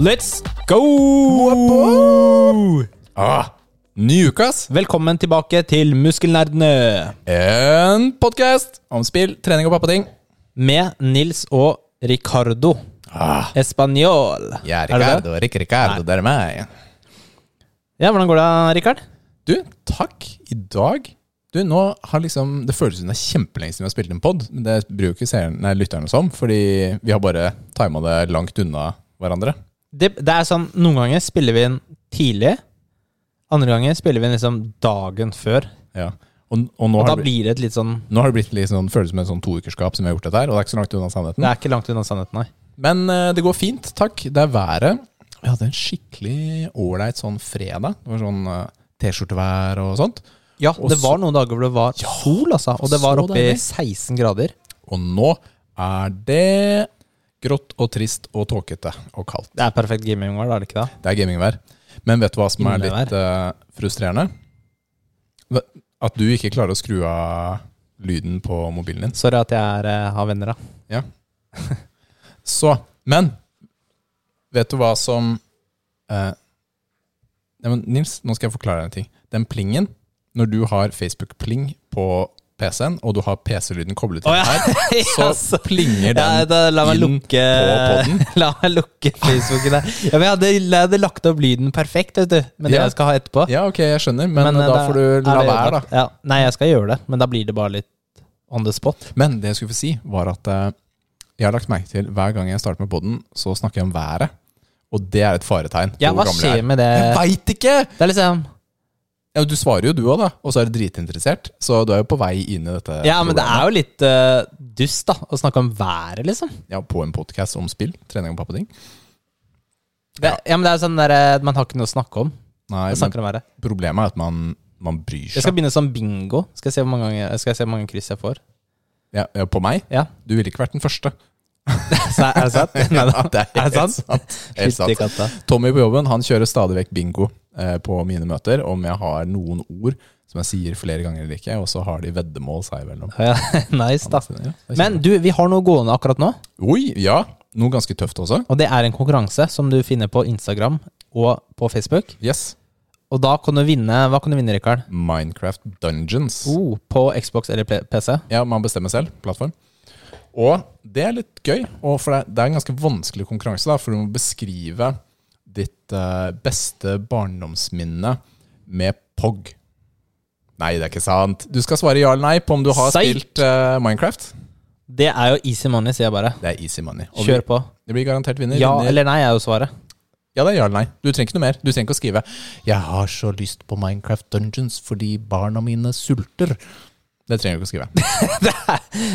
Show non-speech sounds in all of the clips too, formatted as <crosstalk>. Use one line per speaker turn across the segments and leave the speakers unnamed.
Let's go!
Ah, ny uke, ass!
Velkommen tilbake til Muskelnerdene
En podkast om spill, trening og pappating.
med Nils og Ricardo.
Ah,
Español.
ja,
Er det det?
Ricardo, Rick Ricardo, det er meg.
Ja, hvordan går det, Rikard?
Du, takk i dag. Du, nå har liksom Det føles som det er kjempelenge siden vi har spilt en pod, men det bryr jo ikke seeren, nei, lytterne oss om, fordi vi har bare tima det langt unna hverandre.
Det, det er sånn, noen ganger spiller vi inn tidlig. Andre ganger spiller vi inn liksom dagen før.
Ja. Og, og nå,
Og da
har det blitt,
blir det et litt sånn
nå har det blitt litt sånn, føles som en sånn toukerskap som vi har gjort dette her, og det er ikke så langt unna sannheten.
Det er ikke langt unna sannheten, nei.
Men eh, det går fint, takk. Det er været. Vi hadde en skikkelig ålreit sånn fredag. Det var sånn eh, T-skjortevær og sånt.
Ja,
Og
det
så-
var noen dager hvor det var sol, altså. Og det
så
var oppe i
deilig.
16 grader.
Og nå er det grått og trist og tåkete og kaldt.
Det er perfekt gamingvær, er det ikke det?
Det er gamingvær. Men vet du hva som er
Innevær.
litt eh, frustrerende? Hva- At du ikke klarer å skru av lyden på mobilen din.
Sorry at jeg er, eh, har venner, da.
Så, men Vet du hva som eh, nei, men Nils, nå skal jeg forklare deg en ting. Den plingen, når du har Facebook-pling på PC-en, og du har PC-lyden koblet til
Å, <laughs> ja. <laughs>
her, så
Yes.
plinger den
Ja, da, la meg
inn
lukke
på podden.
<laughs> La meg lukke Facebooken der. Ja, men jeg, hadde, jeg hadde lagt opp lyden perfekt, vet du. Med det
Ja.
jeg skal ha etterpå.
Ja, ok, jeg skjønner, men,
Men, eh,
da
da
får du la være, da.
Ja. Nei, jeg skal gjøre det, men da blir det bare litt on the spot.
Men det jeg skulle få si, var at eh, jeg har lagt merke til hver gang jeg starter med poden, så snakker jeg om været. Og det er et faretegn. på
Ja,
hvor
hva
gammel jeg
skjer
er.
med det?
Jeg veit ikke!
Det er liksom
Ja, du svarer jo du òg, da. Og så er du dritinteressert. Så du er jo på vei inn i dette.
Ja, men det
problemet.
er jo litt eh, dust, da, å snakke om været, liksom.
Ja, På en podkast om spill. Trening og pappating.
Det, ja, men det er sånn der, eh, Man har ikke noe å snakke om.
Nei,
Jeg
men
snakker om været.
problemet er at man, man bryr
Jeg
seg.
skal begynne som bingo. Skal jeg se hvor mange, ganger- skal jeg se hvor mange kryss jeg får?
Ja, ja, på meg?
Ja.
Du ville ikke vært den første.
Så
<laughs>
er er det sant? Nei, da.
det
<laughs> Er
er
det
helt
sant?
sant.
Fytti
Helt sant.
katta.
Tommy på jobben han kjører stadig vekk bingo eh, på mine møter om jeg har noen ord som jeg sier flere ganger eller ikke, og så har de veddemål seg imellom.
Ja, <laughs> nice, da.
Ja, det er
Men du, vi har noe gående akkurat nå,
kjempe- Oi, ja. Noe ganske tøft også.
og det er en konkurranse som du finner på Instagram og på Facebook.
Yes.
Og da kan du vinne Hva kan du vinne, Rikard?
Minecraft Dungeons.
Oh, på Xbox eller P- PC?
Ja, man bestemmer selv plattform. Og det er litt gøy, og for det, det er en ganske vanskelig konkurranse, da, for du må beskrive ditt eh, beste barndomsminne med POG. Nei, det er ikke sant. Du skal svare ja eller nei på om du har
Seigt.
spilt eh, Minecraft.
Det er jo easy money, sier jeg bare.
Det er easy money. Og
Kjør på.
Vi, det blir garantert vinner.
Ja
vinner.
eller nei er jo svaret.
ja, det er ja eller nei. Du trenger ikke noe mer. Du trenger ikke å skrive 'Jeg har så lyst på Minecraft Dungeons fordi barna mine sulter'. Det trenger du ikke å skrive.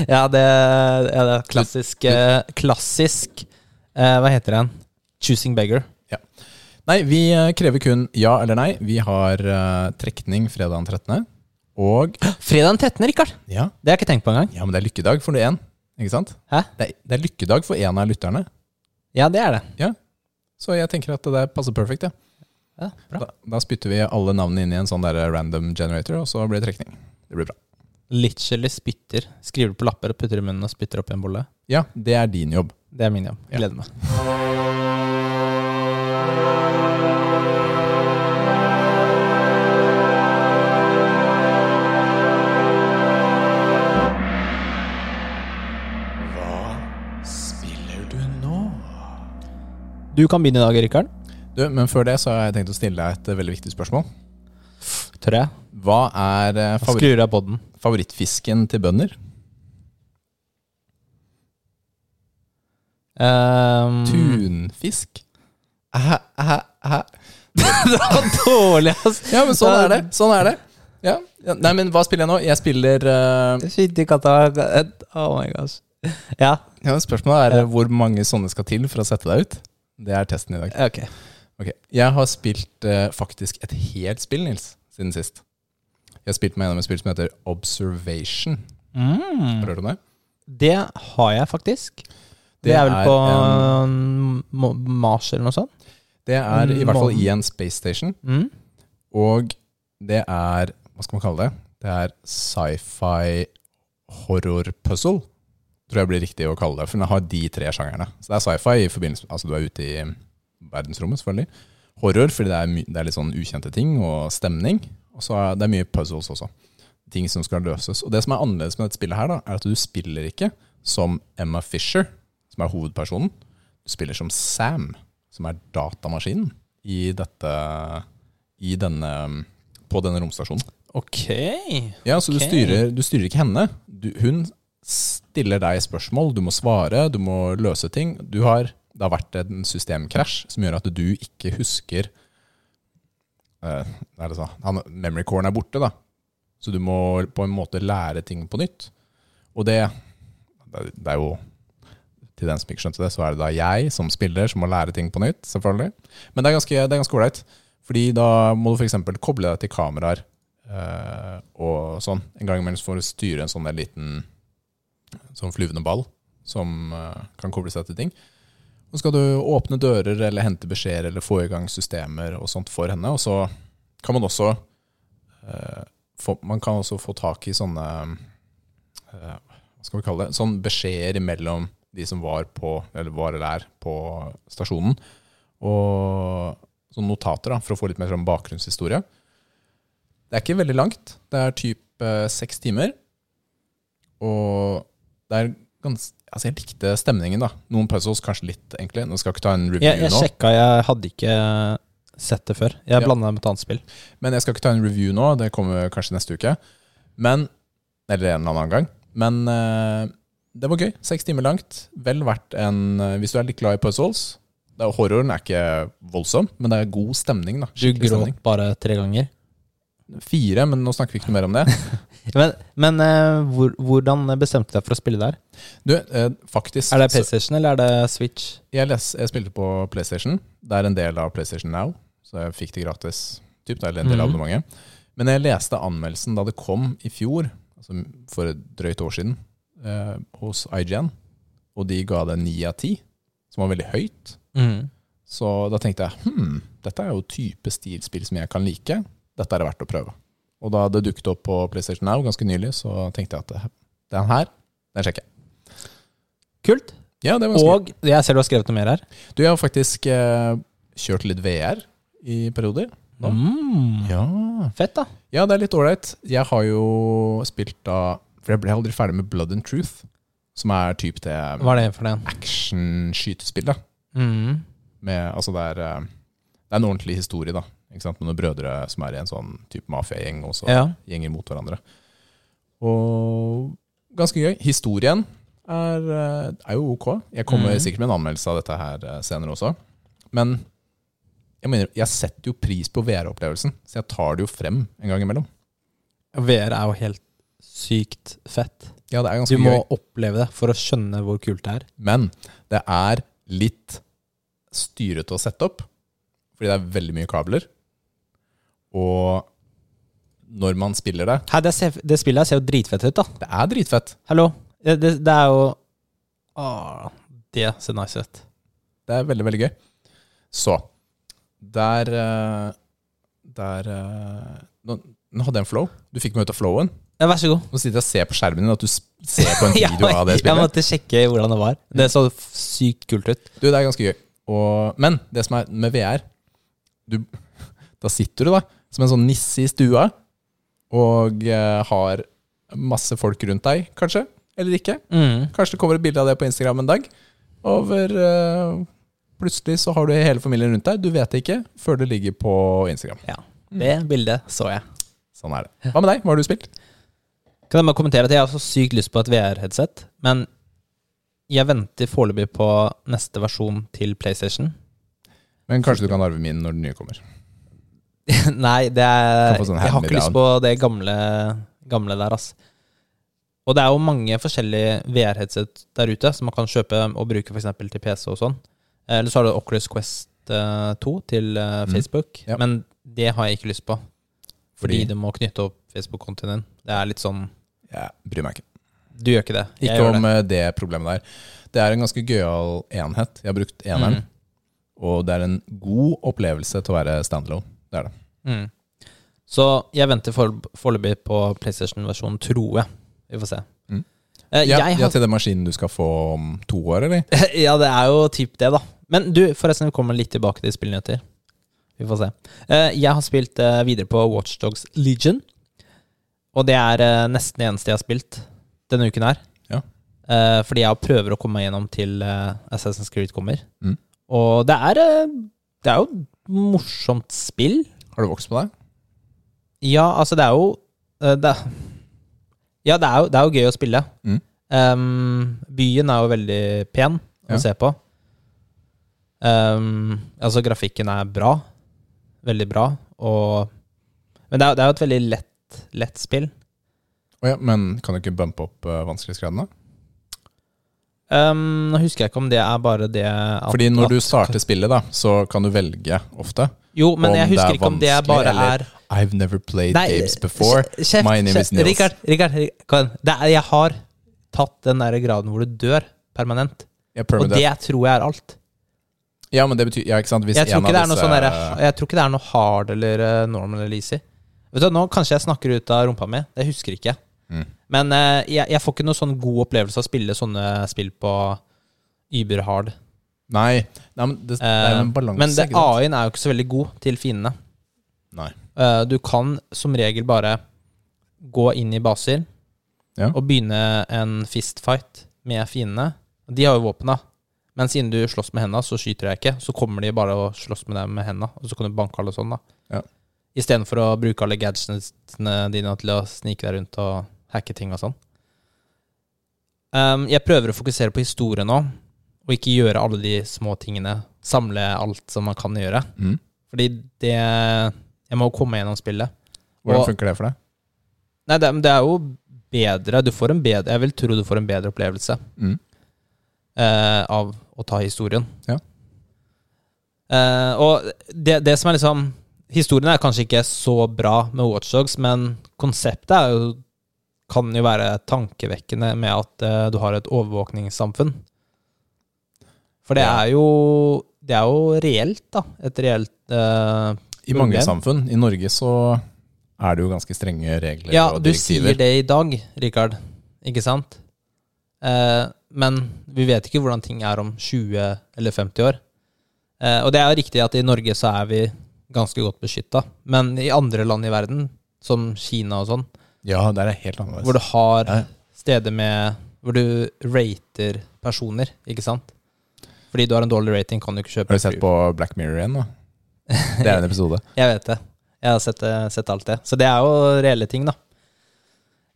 Ja, det, ja, det er klassisk eh, Klassisk eh, Hva heter den? Choosing beggar.
Nei, vi eh, krever kun ja eller nei. Vi har eh, trekning fredag den 13.
<gasps>
Og
Fredag den 13., Rikard.
ja.
Det har jeg ikke tenkt på engang.
ja, men det er lykkedag for én, ikke sant?
Hæ?
Det er, det er lykkedag for én av lytterne.
Ja, det er det.
Så jeg tenker at det der passer perfekt, ja.
Ja, bra.
Da, da spytter vi alle navnene inn i en sånn der random generator, og så blir det trekning. Det blir bra.
Literally spytter. Skriver det på lapper og putter det i munnen og spytter opp i en bolle.
Ja, det er din jobb.
Det er min jobb.
Ja.
Gleder meg.
Hva spiller du nå?
Du kan begynne i dag, Rikard.
Du, men før det så har jeg tenkt å stille deg et eh, veldig viktig spørsmål.
Tør jeg?
Hva er eh, favoritt,
Skrur av podden.
favorittfisken til bønder?
Ehm,
Tunfisk? Æ, æ, æ.
<laughs> det var dårlig, ass!
Ja, men sånn er det. Sånn er det. Ja. Ja, Nei, men hva spiller jeg nå? Jeg spiller eh,
Fytti katta. Oh my gosh. Ja,
ja, Spørsmålet er eh, hvor mange sånne skal til for å sette deg ut. Det er testen i dag.
ok.
Ok. Jeg har spilt eh, faktisk et helt spill, Nils, siden sist. Jeg har spilt med gjennom et spill som heter Observation. Har du hørt om det?
Mm. Det har jeg faktisk. Det,
Det
er vel
er
på mm, Mo- Mars eller noe sånt?
Det er i hvert fall
Månen.
i en space station,
Mm.
og det er Hva skal man kalle det? Det er sci-fi horror puzzle. Tror jeg blir riktig å kalle det, for den har de tre sjangerne. Så det er sci-fi i forbindelse med Altså, du er ute i verdensrommet, selvfølgelig. Horror, fordi det er, my det er litt sånn ukjente ting, og stemning. Og så er det er mye puzzles også. Ting som skal løses. Og det som er annerledes med dette spillet her, da, er at du spiller ikke som Emma Fisher, som er hovedpersonen. Du spiller som Sam, som er datamaskinen i dette i denne, um, på denne romstasjonen.
Ok.
Ja, så
Ok.
du, styrer, du styrer ikke henne. Du, hun stiller deg spørsmål, du må svare, du må løse ting. Du har, det har vært en systemkrasj som gjør at du ikke husker eh, hva er det så? Han, Memory coren er borte, da. Så du må på en måte lære ting på nytt. Og det, det det er jo Til den som ikke skjønte det, så er det da jeg som spiller som må lære ting på nytt, selvfølgelig. Men det er ganske det er ganske ålreit. Fordi da må du f.eks. koble deg til kameraer eh, og sånn. En gang imellom så får du styre en sånn der liten sånn flyvende ball som eh, kan koble seg til ting. Så skal du åpne dører eller hente beskjeder eller få i gang systemer og sånt for henne. Og så kan man også eh, få, man kan også få tak i sånne eh, Hva skal vi kalle det? Sånn beskjeder imellom de som var på, eller var eller er på stasjonen. Og sånne notater da, for å få litt mer sånn bakgrunnshistorie. Det er ikke veldig langt. Det er typ eh, seks timer. Og det er ganske Altså, jeg likte stemningen, da. Noen puzzles kanskje litt, egentlig. Nå skal jeg ikke ta en review
Jeg, jeg
nå.
sjekka, jeg hadde ikke sett det før. Jeg
Ja.
blanda det med et annet spill.
Men jeg skal ikke ta en review nå, det kommer kanskje neste uke. Men, Eller en eller annen gang. Men eh, det var gøy. Seks timer langt. Vel verdt en eh, Hvis du er litt glad i puzzles det er, Horroren er ikke voldsom, men det er god stemning. da
Du
Skikkelig
gråt bare tre ganger.
stemning. Fire, men nå snakker vi ikke noe mer om det.
Men, men eh, hvor, hvordan bestemte du deg for å spille der?
Du, eh, faktisk
Er det
så-
PlayStation eller er det Switch?
jeg, les, jeg spilte på PlayStation. Det er en del av PlayStation Now, så jeg fikk det gratis. Typ, det er en del av
Mhm.
abonnementet. Men jeg leste anmeldelsen da det kom i fjor, altså for et drøyt år siden, eh, hos IGN. Og de ga det 9 av 10, som var veldig høyt. Så da tenkte jeg hm, dette er jo type stilspill som jeg kan like. Dette er det verdt å prøve. Og da det dukket opp på PlayStation Now ganske nylig, så tenkte jeg at det- den her, den sjekker jeg.
Kult.
Ja, det var ganske
Og jeg ser du har skrevet noe mer her.
Du, jeg har faktisk eh, kjørt litt VR i perioder. Ja.
Mm.
Ja.
Fett, da.
ja, det er litt ålreit. Jeg har jo spilt da For jeg ble aldri ferdig med Blood and Truth, som er typ det
Hva er det for den?
action-skytespillet.
Mm.
Med, altså det, er, eh, det er en ordentlig historie, da. Ikke sant? Med noen brødre som er i en sånn type mafiagjeng, og så
Ja.
gjenger mot hverandre. Og ganske gøy. Historien er, eh, er jo ok. Jeg kommer
Mhm.
sikkert med en anmeldelse av dette her eh, senere også. Men jeg mener, jeg setter jo pris på VR-opplevelsen, så jeg tar det jo frem en gang imellom.
VR er jo helt sykt fett.
Ja, det er
Du
ganske
må
gøy.
oppleve det for å skjønne hvor kult det er.
Men det er litt styrete å sette opp, fordi det er veldig mye kabler. Og når man spiller det
Hei, det, ser, det spillet her ser jo dritfett ut, da.
Det er dritfett.
Hallo. Det, det, det er jo Åh, Det ser nice ut.
Det er veldig, veldig gøy. Så Der eh, Der eh, Nå, nå hadde jeg en flow. Du fikk meg ut av flowen.
Ja, vær så god.
Nå sitter jeg og ser på skjermen din at du s- ser på en
<laughs>
video av det
Jeg
spillet.
måtte sjekke hvordan det var. Det så f- sykt kult ut.
Du, det er ganske gøy. Og, men det som er med VR du, <laughs> Da sitter du da som en sånn nisse i stua og eh, har masse folk rundt deg, kanskje. Eller ikke. Kanskje det kommer et bilde av det på Instagram en dag. Over eh, Plutselig så har du hele familien rundt deg. Du vet det ikke før det ligger på Instagram.
Ja. Det bildet så jeg.
Sånn er det. Hva med deg? Hva har du spilt?
Kan jeg bare kommentere at jeg har så sykt lyst på et VR-headset, men jeg venter foreløpig på neste versjon til PlayStation.
Men kanskje du kan arve min når den nye kommer.
<laughs> Nei, det er,
Kan få
jeg
sånn
har ikke
hand-me-down.
lyst på det gamle, gamle der, ass. Og det er jo mange forskjellige VR-headset der ute som man kan kjøpe og bruke f.eks. til PC og sånn. Eller så har du Oculus Quest eh, 2 til eh,
Mm.
Facebook,
Ja.
men det har jeg ikke lyst på. Fordi
Fordi-
du må knytte opp Facebook-kontoen din. Det er litt sånn
Jeg bryr meg ikke.
Du gjør ikke det. Jeg
Ikke
gjør det.
om eh, det problemet der. Det er en ganske gøyal enhet. Jeg har brukt eneren.
Mm.
Og det er en god opplevelse til å være standalone. Det er det.
Mm. Så jeg venter forel- foreløpig på PlayStation-versjonen, tror jeg. Vi får se.
Mm.
Eh,
Ja,
jeg
ja,
har, <laughs>
til den maskinen du skal få om to år, eller?
ja, det er jo typ det, da. Men du, forresten, vi kommer litt tilbake til spillnyheter. Vi får se. Eh, Jeg har spilt eh, videre på Watchdogs Legion. Og det er eh, nesten det eneste jeg har spilt denne uken her.
Ja.
Eh, Fordi jeg prøver å komme meg gjennom til eh, Assassin's Creed kommer.
Mm.
Og det er, eh, det er jo et morsomt spill.
Har det vokst på deg?
Ja, altså, det er jo eh, det, er- Ja, det er jo, det er jo gøy å spille.
Mm.
Um, byen er jo veldig pen
Ja.
å se på. Um, altså, grafikken er bra. Veldig bra. Og Men det er, det er jo et veldig lett, lett spill.
Å ja, men kan du ikke bumpe opp uh, vanskelighetsgradene?
Um, nå husker jeg ikke om det er bare det at,
Fordi når du
at,
starter spillet, da, så kan du velge ofte.
Jo, men
om
jeg
det er
husker ikke om det
vanskelig
bare
eller-
er
I've never played
Nei,
games before.
kje- kjeft,
My name is
kjeft.
Nils.
Richard, Richard, Richard, det er, jeg har tatt den der graden hvor du dør permanent.
Ja,
Og
permanent.
det tror jeg er alt.
ja, men det betyr ja, ikke sant? Hvis
jeg, tror
en
ikke
av
det er noe
disse-
sånn derre- jeg tror ikke det er noe hard eller eh, normal eller easy. Vet du, hva, nå kanskje jeg snakker ut av rumpa mi. Jeg husker ikke.
Mm.
Men eh, jeg, jeg får ikke noe sånn god opplevelse av å spille sånne spill på überhard.
Nei, nei men det, det er jo en balanse.
Eh, men det-
ikke sant?
AI-en er jo ikke så veldig god til fiendene.
Nei.
Eh, du kan som regel bare gå inn i baser
Ja.
og begynne en fistfight med fiendene. De har jo våpen, da. Men siden du slåss med henda, så skyter jeg ikke. Så kommer de bare og slåss med deg med henda, og så kan du banke alle sånn, da.
Ja.
Istedenfor å bruke alle gadgetsene dine til å snike deg rundt og hacke ting og sånn. Um, jeg prøver å fokusere på historie nå, og ikke gjøre alle de små tingene. Samle alt som man kan gjøre.
Mm.
Fordi det Jeg må komme gjennom spillet.
Hvordan
Og-
funker det for deg?
Nei, det, men det er jo bedre. Du får en bedre Jeg vil tro du får en bedre opplevelse
Mm.
eh, av å ta historien.
Ja.
Eh, og det, det som er liksom Historien er kanskje ikke så bra med Watchdogs, men konseptet er jo kan jo være tankevekkende med at eh, du har et overvåkningssamfunn. For det
Ja.
er jo Det er jo reelt, da. Et reelt eh,
I mange
Problem.
samfunn. I Norge så er det jo ganske strenge regler
Ja,
og
du sier
direktiver.
det i dag, Rikard. Ikke sant? Eh, men vi vet ikke hvordan ting er om 20 eller 50 år. Eh, og det er jo riktig at i Norge så er vi ganske godt beskytta. Men i andre land i verden, som Kina og sånn,
Ja, der er helt annerledes.
hvor du har
Ja.
steder med Hvor du rater personer, ikke sant? Fordi du har en dårlig rating, kan du ikke kjøpe
Har du sett på Black Mirror igjen,
<laughs>
da? Det er en episode.
Jeg vet det. Jeg har sett, det- sett alt det. Så det er jo reelle ting, da.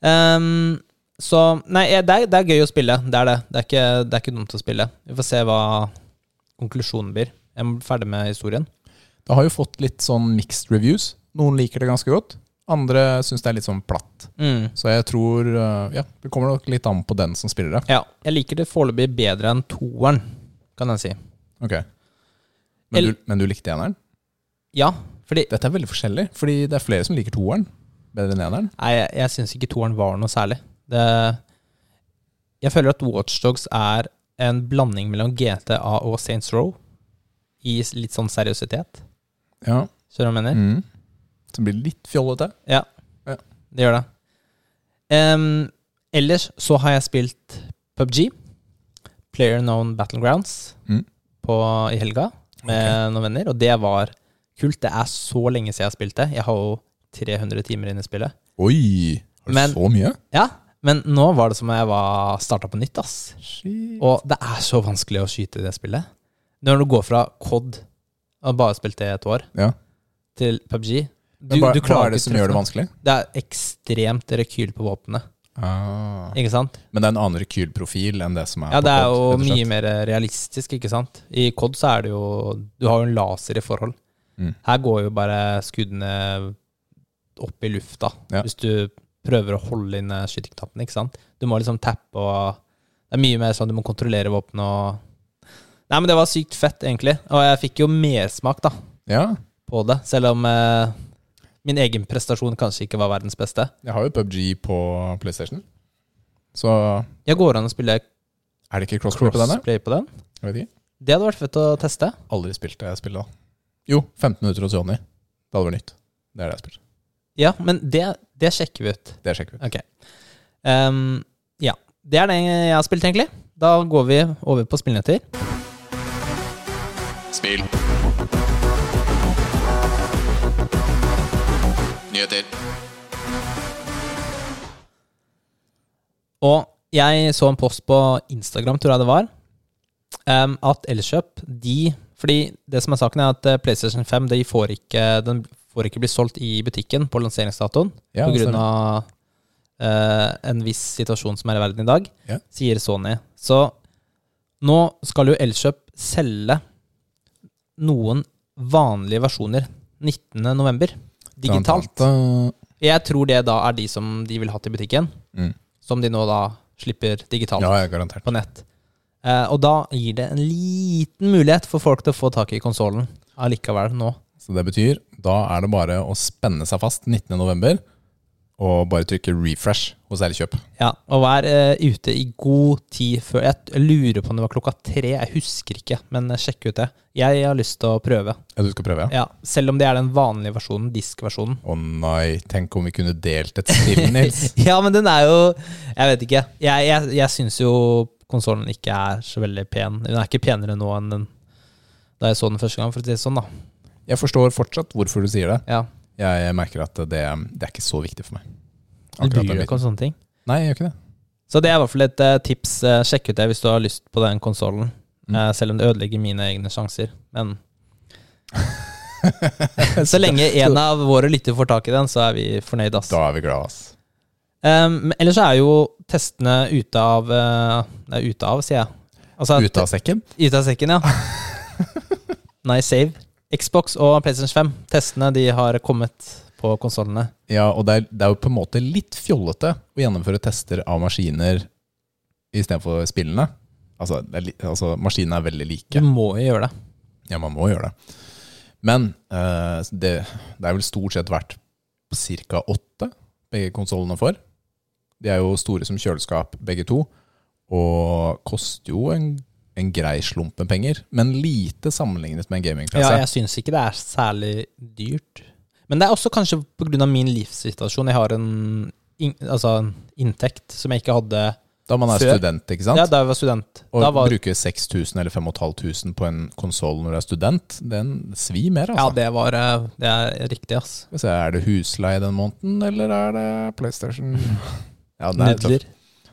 Ehm, så Nei, jeg- det er, det er gøy å spille. Det er det. Det er, ikke, det er ikke dumt å spille. Vi får se hva konklusjonen blir. Jeg er ferdig med historien.
Det har jo fått litt sånn mixed reviews. Noen liker det ganske godt. Andre syns det er litt sånn platt. Så jeg tror eh, Ja, det kommer nok litt an på den som spiller det.
Ja. Jeg liker det foreløpig bedre enn toeren, kan jeg si.
Ok. Men
El-
du, men du likte eneren?
Ja, fordi
Dette er veldig forskjellig, fordi det er flere som liker toeren bedre enn eneren.
Nei, jeg, jeg syns ikke toeren var noe særlig. Det, jeg føler at Watchdogs er en blanding mellom GTA og Saints Row i s- litt sånn seriøsitet.
Ja.
Skjønner du hva jeg mener?
Mm. Som blir litt fjollete.
Det gjør det. Em, ellers så har jeg spilt PubG, Player Known Battlegrounds,
Mm.
på, i helga med noen venner, og det var kult. Det er så lenge siden jeg har spilt det. Jeg har jo 300 timer inn i spillet.
Oi! Har du
Men-
så mye?
Ja, men nå var det som om jeg var starta på nytt, ass.
Shit.
Og det er så vanskelig å skyte i det spillet. Når du går fra COD, og bare spilt det i et år,
Ja.
til PubG du,
Men hva,
du
hva
klarer
er det
ikke
som gjør det
treffe.
vanskelig?
Det er ekstremt rekyl på våpenet, ikke sant?
Ah. Men det er en annen rekylprofil enn det som er
Ja,
på
det er
pod,
jo
rett og slett.
mye mer realistisk, ikke sant? I COD så er det jo Du har jo en laser i forhold.
Mm.
Her går jo bare skuddene opp i lufta
Ja.
hvis du prøver å holde inne skytterknappen, ikke sant? Du må liksom tappe og Det er mye mer sånn du må kontrollere våpenet og Nei, men det var sykt fett, egentlig. Og jeg fikk jo mersmak, da,
Ja,
på det. Selv om eh, min egen prestasjon kanskje ikke var verdens beste.
jeg har jo PubG på PlayStation. Så er
Jeg går an å spille
det ikke crossplay på denne?
crossplay på den.
Jeg vet ikke.
Det hadde vært fett å teste.
Aldri spilt det spillet da. Jo, 15 minutter hos Johnny. Det hadde vært nytt. Det er det jeg spiller.
Ja, men det, det sjekker vi ut.
Det sjekker vi.
Ok. Ehm, ja. Det er det jeg har spilt, egentlig. Da går vi over på spillnyheter.
til. Nyheter.
Og jeg så en post på Instagram, tror jeg det var, em, at Elkjøp de fordi det som er saken, er at eh, PlayStation 5 de får ikke, den får ikke bli solgt i butikken på lanseringsdatoen
Ja,
på
det
grunn
stemmer.
av eh, en viss situasjon som er i verden i dag,
Ja.
sier Sony. Så nå skal jo Elkjøp selge noen vanlige versjoner 19. november, digitalt.
Blant annet,
Jeg tror det da er de som de vil ha til butikken,
Mm.
som de nå da slipper digitalt
Ja, ja, garantert.
på nett. Eh, og da gir det en liten mulighet for folk til å få tak i konsollen allikevel nå.
Så det betyr, da er det bare å spenne seg fast 19. november, og bare trykke refresh hos Elkjøp.
Ja, og vær eh, ute i god tid før Jeg lurer på om det var klokka tre, jeg husker ikke, men eh, sjekk ut det. Jeg har lyst til å prøve.
Ja, du skal prøve, ja?
Ja, Selv om det er den vanlige versjonen, diskversjonen.
Å nei, tenk om vi kunne delt et spill, <laughs> Nils.
<laughs> Ja, men den er jo Jeg vet ikke. Jeg, jeg, jeg syns jo konsollen ikke er så veldig pen. Den er ikke penere nå enn den da jeg så den første gang, for å si det sånn, da.
Jeg forstår fortsatt hvorfor du sier det.
Ja.
Jeg, jeg merker at det, det er ikke så viktig for meg.
Du bryr
Akkurat den
deg ikke
biten.
om sånne ting.
Nei, jeg gjør ikke det.
Så det er i hvert fall et eh, tips. Eh, sjekk ut det hvis du har lyst på den konsollen.
Mm.
Eh, selv om det ødelegger mine egne sjanser. Men
<laughs>
så lenge en av våre lytter får tak i den, så er vi fornøyd, ass.
Da er vi glad, ass.
Um, ellers så er jo testene ute av eh, Nei, ute av, sier jeg. Altså,
Ute av sekken.
Ute av sekken, ja.
<laughs>
nice save. Xbox og PlayStation 5. Testene de har kommet på konsollene.
Ja, og det er, det er jo på en måte litt fjollete å gjennomføre tester av maskiner istedenfor spillene. Altså, det er li, altså, maskinene er veldig
Du
like.
må jo gjøre det.
Ja, man må gjøre det. Men eh, det, det er vel stort sett vært ca. åtte begge konsollene for. De er jo store som kjøleskap, begge to, og koster jo en, en grei slump med penger. Men lite sammenlignet med en
Ja,
gaming-PC.
jeg syns ikke det er særlig dyrt. Men det er også kanskje pga. min livssituasjon. Jeg har en in altså, en inntekt som jeg ikke hadde
Da man er
Før-
student, ikke sant?
ja, da jeg var student.
Og
Da var,
bruke 6000 eller 5500 på en konsoll når du er student, den svir mer,
ja,
altså.
det var eh, Det er riktig, ass.
Skal vi se, er det husleie den måneden, eller er det
<laughs>
PlayStation? Ja, den er tøff.
Nudler.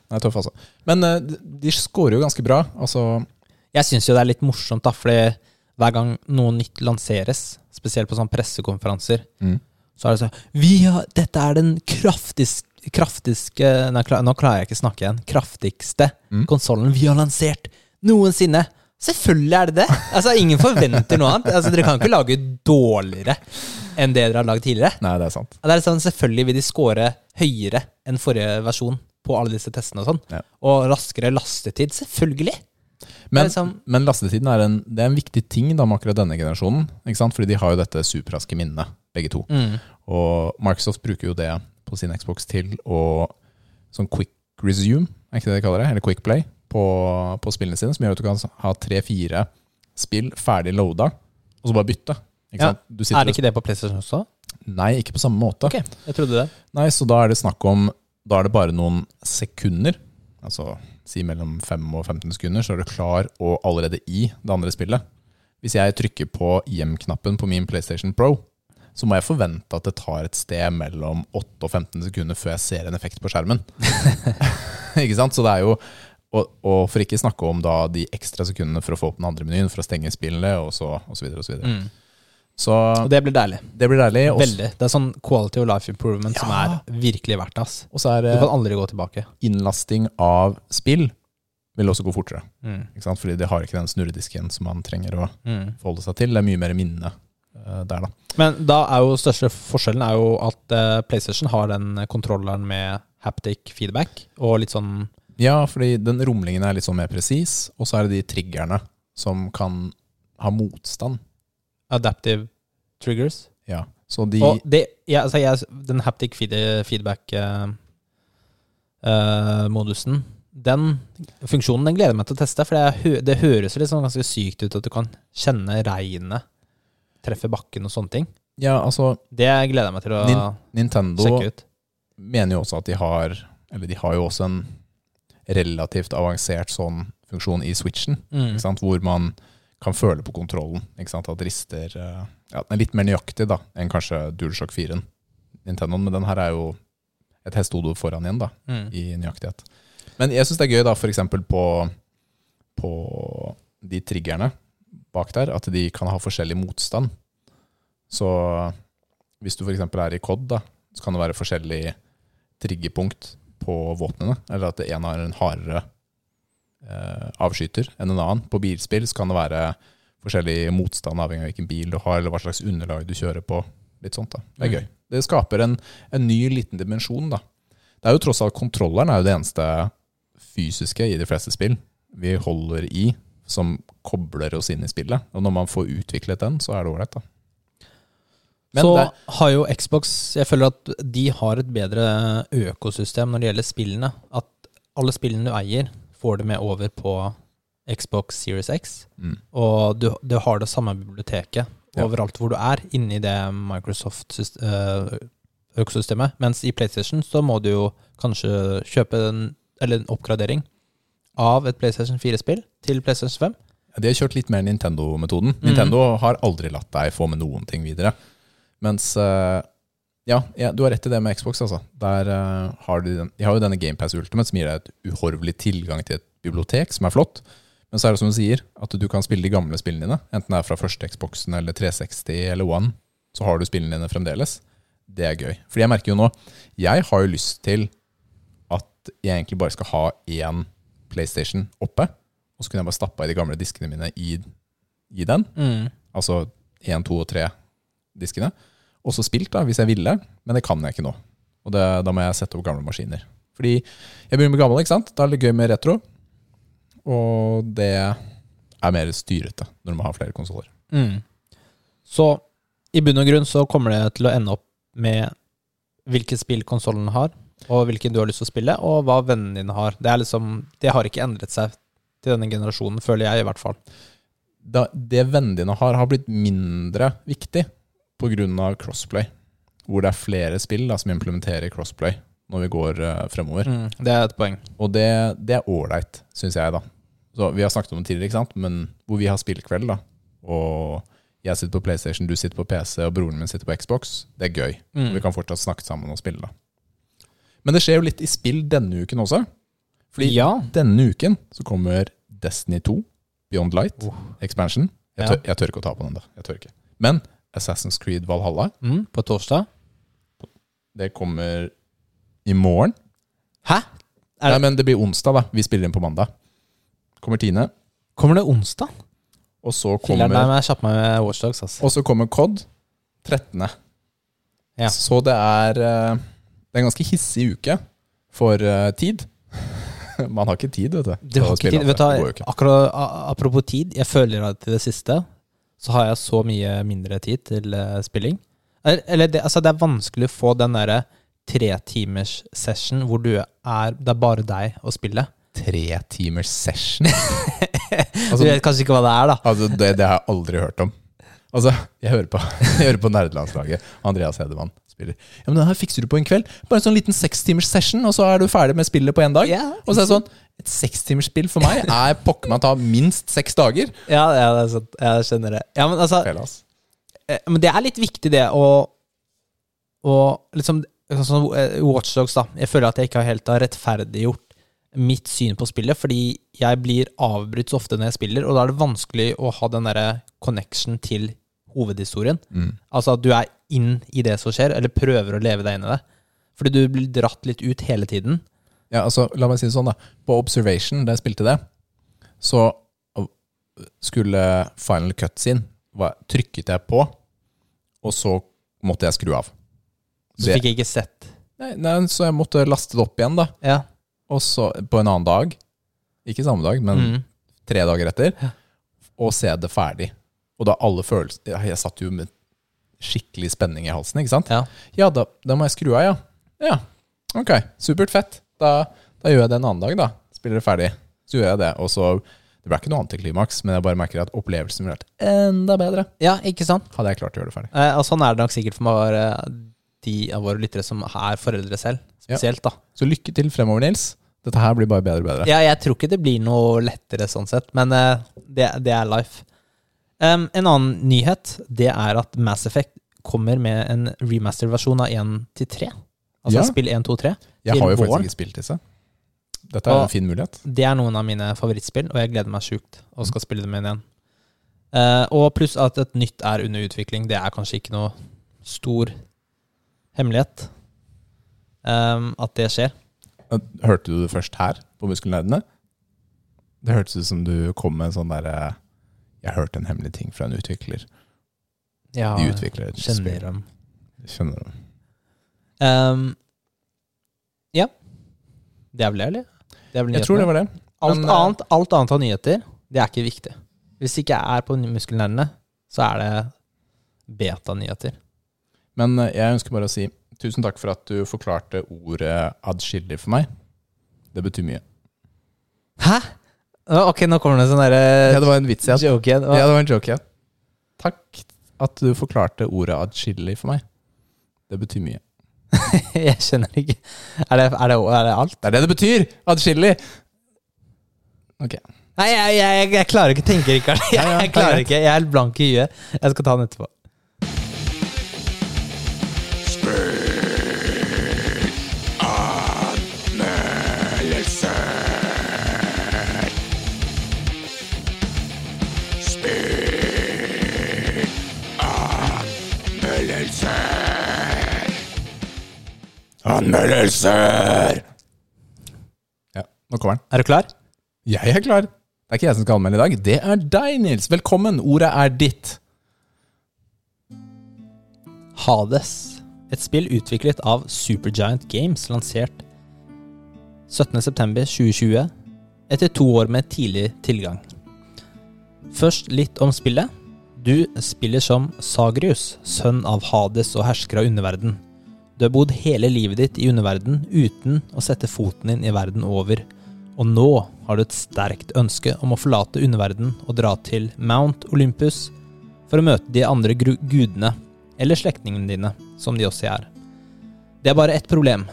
Den er tøff, altså. Men eh, de scorer jo ganske bra. Altså,
Jeg syns jo det er litt morsomt, da, fordi hver gang noe nytt lanseres, spesielt på sånne pressekonferanser,
Mm.
så er det sånn vi har, Dette er den kraftigste Kraftigste nei, kla- Nå klarer jeg ikke å snakke igjen. Kraftigste
Mm.
konsollen vi har lansert noensinne. Selvfølgelig er det det! Altså, Ingen forventer noe annet. Altså, Dere kan ikke lage dårligere enn det dere har lagd tidligere.
nei, det er sant.
Det er sånn, Selvfølgelig vil de score høyere enn forrige versjon på alle disse testene og sånn.
Ja.
Og raskere lastetid. Selvfølgelig!
Men,
Det er liksom-
men lastetiden er en, det er en viktig ting da med akkurat denne generasjonen. Ikke sant? Fordi de har jo dette superraske minnet, begge to. Og Microsoft bruker jo det på sin Xbox til å sånn quick resume, er ikke det de kaller det? Eller quick play på, på spillene sine, som gjør at du kan ha tre-fire spill ferdig loada, og så bare bytte. Ikke
Ja.
sant? Du sitter
Er det ikke det på PlayStation også?
og- Nei, ikke på samme måte.
Ok, jeg trodde det.
Nei, så da er det snakk om Da er det bare noen sekunder Altså si mellom 5 og 15 sekunder Så er du klar og allerede i det andre spillet Hvis jeg trykker på hjem-knappen på min Playstation Pro Så må jeg forvente at det tar et sted mellom 8 og 15 sekunder Før jeg ser en effekt
<laughs>
på skjermen Ikke sant? Så det er jo og, og for ikke snakke om da de ekstra sekundene for å få opp den andre menyen, for å stenge spillene, og så, og så videre, og så videre. Så
Og det blir deilig.
det blir deilig. og-
Mm. Veldig. Det er sånn quality of life improvement som er virkelig verdt det. ass.
Og så er
Du
det
kan aldri gå tilbake.
innlasting av spill vil også gå fortere.
Mm.
Ikke sant? Fordi de har ikke den snurredisken som man trenger å
Mm.
forholde seg til. Det er mye mer minne eh, der, da.
Men da er jo største forskjellen er jo at eh, PlayStation har den kontrolleren med haptic feedback og litt sånn
Ja, fordi den rumlingen er litt sånn mer presis, og så er det de triggerne som kan ha motstand.
adaptive triggers.
Ja. Så de
Og det, jeg, altså jeg, den haptic feed- eh, feedback-modusen, den funksjonen den gleder jeg meg til å teste. For det, er hø- det høres jo litt sånn ganske sykt ut at du kan kjenne regnet treffe bakken og sånne ting.
Ja, altså,
Det gleder jeg meg til å
Nin- Nintendo
sjekke ut.
mener jo også at de har Eller de har jo også en relativt avansert sånn funksjon i Switchen.
Mm.
ikke sant? hvor man kan føle på kontrollen. Ikke sant? At rister eh, ja, Den er litt mer nøyaktig da, enn kanskje DualShock 4-en. Nintendoen, men den her er jo et hestehode foran igjen, da,
Mm.
i nøyaktighet. Men jeg syns det er gøy, da, f.eks. På, på de triggerne bak der, at de kan ha forskjellig motstand. Så hvis du f.eks. er i COD, da, så kan det være forskjellig triggerpunkt på våpnene. Eller at en har en hardere eh, avskyter enn en annen. På bilspill så kan det være forskjellig motstand avhengig av hvilken bil du har, eller hva slags underlag du kjører på. Litt sånt da. Det er
Mm.
gøy. Det skaper en, en ny liten dimensjon. da. Det er jo tross alt kontrolleren er jo det eneste fysiske i de fleste spill vi holder i, som kobler oss inn i spillet. Og når man får utviklet den, så er det ålreit, da. Men
så
det-
har jo Xbox Jeg føler at de har et bedre økosystem når det gjelder spillene. At alle spillene du eier, får du med over på Xbox Series X.
Mm.
Og du, du har det samme biblioteket
Ja.
overalt hvor du er, inni det Microsoft-økosystemet. Mens i PlayStation så må du jo kanskje kjøpe en, eller en oppgradering av et PlayStation 4-spill til PlayStation 5.
De har kjørt litt mer Nintendo-metoden. Nintendo har aldri latt deg få med noen ting videre. Mens eh, ja, ja, du har rett i det med Xbox. altså. Der eh, har de, den, de har jo denne GamePass Ultimate, som gir deg et uhorvelig tilgang til et bibliotek, som er flott. Men så er det som du sier, at du kan spille de gamle spillene dine. Enten det er fra første Xboxen eller 360 eller One, så har du spillene dine fremdeles. Det er gøy. Fordi jeg merker jo nå, jeg har jo lyst til at jeg egentlig bare skal ha én PlayStation oppe. Og så kunne jeg bare stappa i de gamle diskene mine i, i den. Altså 1, 2 og 3 diskene. Og så spilt, da, hvis jeg ville. Men det kan jeg ikke nå. Og det, da må jeg sette opp gamle maskiner. Fordi jeg begynner med gammel, ikke sant? Da er det litt gøy med retro. Og det er mer styrete når man har flere konsoller.
Mm. Så i bunn og grunn så kommer det til å ende opp med hvilke spill konsollen har, og hvilken du har lyst til å spille, og hva vennene dine har. Det, er liksom, det har ikke endret seg til denne generasjonen, føler jeg i hvert fall.
da, det vennene dine har, har blitt mindre viktig pga. crossplay. Hvor det er flere spill da, som implementerer crossplay når vi går eh, fremover.
Det er et poeng.
Og det, det er ålreit, syns jeg, da. Så vi har snakket om det tidligere, ikke sant? men hvor vi har spillkveld, da. Og jeg sitter på PlayStation, du sitter på PC, og broren min sitter på Xbox. Det er gøy.
Mm.
Vi kan fortsatt snakke sammen og spille, da. Men det skjer jo litt i spill denne uken også. Fordi
ja.
denne uken så kommer Destiny 2, Beyond Light,
Oh.
Expansion. Jeg
Ja.
tør, jeg tør ikke å ta på den, da. Jeg tør ikke. Men Assassin's Creed Valhalla,
Mm, på torsdag.
det kommer i morgen.
Hæ? Er det-
Nei, men det blir onsdag, da. Vi spiller inn på mandag. Kommer tiende.
Kommer det onsdag?
Og så
Killer, nei,
kommer,
men jeg kjapper meg med altså. Watchdogs, ass.
og så kommer Cod 13.
Ja.
Så det er eh, Det er en ganske hissig uke for eh, tid. <laughs> Man har ikke tid, vet du.
Du har
til å
ikke
spille
tid.
alt
Vet du,
det. Det går jo
hva,
ikke.
akkurat, a- apropos tid, jeg føler at til det siste så har jeg så mye mindre tid til eh, spilling. Eller- Eller det, altså det er vanskelig å få den derre tretimers session hvor du er Det er bare deg å spille.
Tre timers session.
Du
altså,
vet kanskje ikke hva det er, da.
altså det, det har jeg aldri hørt om. Altså, jeg hører på, <laughs> jeg hører på nerdelandslaget. Andreas Hedemann spiller. Ja, men den her fikser du på en kveld. Bare en sånn liten sekstimers session, og så er du ferdig med spillet på én dag.
Ja.
Og så er det sånn Et sekstimersspill for meg er pokker meg å ta minst seks dager.
Ja, ja, det er sant. Jeg skjønner det. Ja, men altså,
Feil, ass.
Eh, Men det er litt viktig det å å liksom sånn som, eh, Watch Dogs da. Jeg føler at jeg ikke har helt har rettferdiggjort mitt syn på spillet, fordi jeg blir avbrutt så ofte når jeg spiller, og da er det vanskelig å ha den derre connection til hovedhistorien.
Mm.
Altså at du er inn i det som skjer, eller prøver å leve deg inn i det. Fordi du blir dratt litt ut hele tiden.
Ja, altså, la meg si det sånn, da. På Observation, da jeg spilte det, så skulle final cut sin hva- Trykket jeg på, og så måtte jeg skru av.
Så
Det-
fikk jeg ikke sett.
Nei, nei, så jeg måtte laste det opp igjen, da.
Ja.
Og så på en annen dag, ikke samme dag, men
Mm.
tre dager etter, og se det ferdig. Og da alle følelser ja, Jeg satt jo med skikkelig spenning i halsen, ikke sant?
ja.
Ja, da, da må jeg skru av, ja. Ja, ok. Supert fett. Da, da gjør jeg det en annen dag, da. Spiller det ferdig. Så gjør jeg det. Og så Det ble ikke noe antiklimaks, men jeg bare merker at opplevelsen ville vært enda bedre
ja, ikke sant?
hadde jeg klart å gjøre det ferdig.
Eh, og sånn er det nok sikkert for meg, eh, de av våre lyttere som er foreldre selv.
Ja.
Spesielt, da.
Så lykke til fremover, Nils. Dette her blir bare bedre og bedre.
Ja, jeg tror ikke det blir noe lettere sånn sett, men eh, det, det er life. Um, en annen nyhet det er at Mass Effect kommer med en remaster-versjon av 1 til 3. Altså
Ja.
spill 1, 2, 3.
Jeg
Til
har jo
våren.
faktisk ikke spilt disse. Dette er
Og-
en fin mulighet.
Det er noen av mine favorittspill, og jeg gleder meg sjukt og skal spille dem inn igjen. Eh, og pluss at et nytt er under utvikling. Det er kanskje ikke noe stor hemmelighet um, at det skjer.
Hørte du det først her, på Muskelnerdene? Det hørtes ut som du kom med en sånn derre Jeg hørte en hemmelig ting fra en utvikler.
Ja,
De utvikler et
kjenner
spill.
dem.
Kjenner du?
Um, ja. Det er vel det, eller? Det er vel
Jeg tror det
nyhetene.
var det.
alt,
men, eh,
annet, alt annet av nyheter, det er ikke viktig. Hvis ikke jeg er på muskelnerdene, så er det beta-nyheter.
Men eh, jeg ønsker bare å si tusen takk for at du forklarte ordet adskillig for meg. Det betyr mye.
Hæ? Å, Ok, nå kommer det sånn
Ja,
derre
det var en vits jeg hadde.
joke igjen.
Ja, det var en joke, ja. Takk at du forklarte ordet adskillig for meg. Det betyr mye.
<laughs> Jeg skjønner ikke. Er det, er det, er det alt?
Det er det det betyr! Adskillig!
Nei, jeg, jeg, jeg, jeg klarer ikke å tenke, Rikard. <laughs> Jeg,
Ja, ja,
jeg klarer ikke. Jeg er helt blank i huet. Jeg skal ta den etterpå.
Anmeldelser! Ja, nå kommer den.
Er du klar?
Jeg er klar. Det er ikke jeg som skal anmelde i dag. Det er deg, Nils. Velkommen. Ordet er ditt.
Hades. Et spill utviklet av Supergiant Games, lansert 17.9.2020, etter to år med tidlig tilgang. Først litt om spillet. Du spiller som Sagrius, sønn av Hades og hersker av underverden. Du har bodd hele livet ditt i underverden uten å sette foten din i verden over, og nå har du et sterkt ønske om å forlate underverden og dra til Mount Olympus for å møte de andre gru- gudene eller slektningene dine, som de også er. Det er bare ett problem.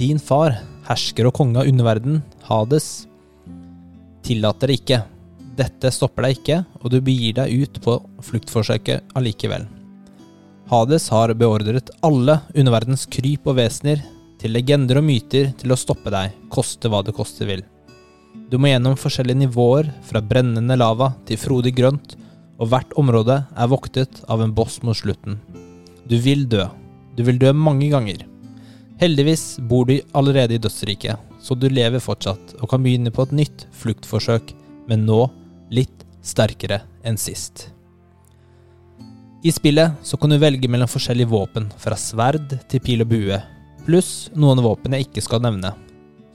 Din far, hersker og konge av underverden, Hades, tillater det ikke. Dette stopper deg ikke, og du begir deg ut på fluktforsøket allikevel. Hades har beordret alle underverdens kryp og vesener til legender og myter til å stoppe deg, koste hva det koste vil. Du må gjennom forskjellige nivåer, fra brennende lava til frodig grønt, og hvert område er voktet av en boss mot slutten. Du vil dø. Du vil dø mange ganger. Heldigvis bor du allerede i dødsriket, så du lever fortsatt og kan begynne på et nytt fluktforsøk, men nå litt sterkere enn sist. I spillet så kan du velge mellom forskjellige våpen, fra sverd til pil og bue, pluss noen våpen jeg ikke skal nevne,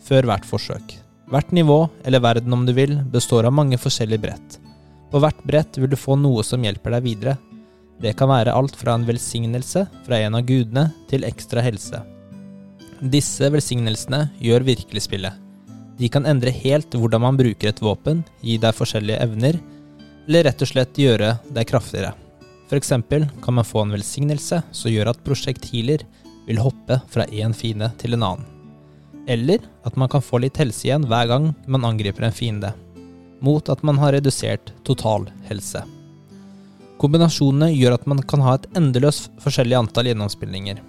før hvert forsøk. Hvert nivå, eller verden om du vil, består av mange forskjellige brett. På hvert brett vil du få noe som hjelper deg videre, det kan være alt fra en velsignelse fra en av gudene til ekstra helse. Disse velsignelsene gjør virkelig spillet. De kan endre helt hvordan man bruker et våpen, gi deg forskjellige evner, eller rett og slett gjøre deg kraftigere. For eksempel kan man få en velsignelse som gjør at prosjektiler vil hoppe fra én fiende til en annen. Eller at man kan få litt helse igjen hver gang man angriper en fiende, mot at man har redusert total helse. Kombinasjonene gjør at man kan ha et endeløst forskjellig antall gjennomspillinger.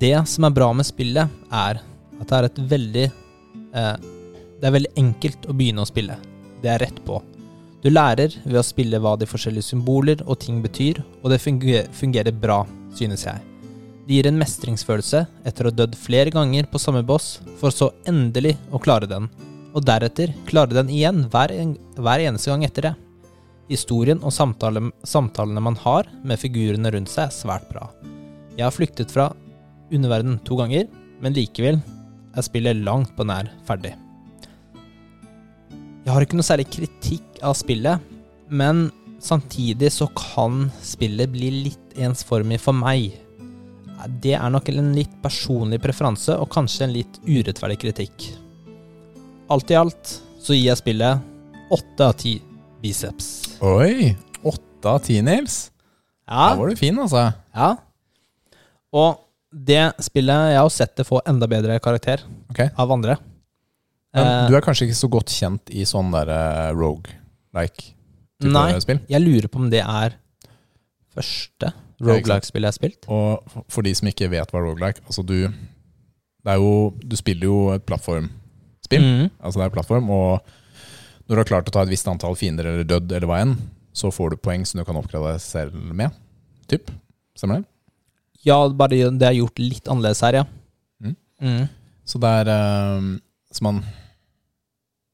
Det som er bra med spillet, er at det er et veldig eh, Det er veldig enkelt å begynne å spille. Det er rett på. Du lærer ved å spille hva de forskjellige symboler og ting betyr, og det fungerer, fungerer bra, synes jeg. Det gir en mestringsfølelse etter å ha dødd flere ganger på samme boss, for så endelig å klare den, og deretter klare den igjen hver, en, hver eneste gang etter det. Historien og samtale, samtalene man har med figurene rundt seg, er svært bra. Jeg har flyktet fra underverden to ganger, men likevel er spillet langt på nær ferdig. Jeg har ikke noe særlig kritikk av spillet, men samtidig så kan spillet bli litt ensformig for meg. Det er nok en litt personlig preferanse, og kanskje en litt urettferdig kritikk. Alt i alt så gir jeg spillet åtte av ti biceps.
Oi! Åtte av ti, Nils.
Ja,
Der var du fin, altså.
ja. Og det spillet Jeg har sett det få enda bedre karakter
Ok.
av andre.
Men
Eh,
du er kanskje ikke så godt kjent i sånn derre eh, rogue-like. type
Nei.
spill.
Jeg lurer på om det er første roguelike-spillet jeg har spilt.
Og for- for de som ikke vet hva roguelike altså du, det er jo, du spiller jo et plattformspill.
Mhm.
Altså det er plattform, og når du har klart å ta et visst antall fiender eller dødd, eller hva enn, så får du poeng som du kan oppgradere deg selv med. Typ. Stemmer det?
Ja, bare det er gjort litt annerledes her, ja.
Mhm.
Mhm.
Så det er eh, Så man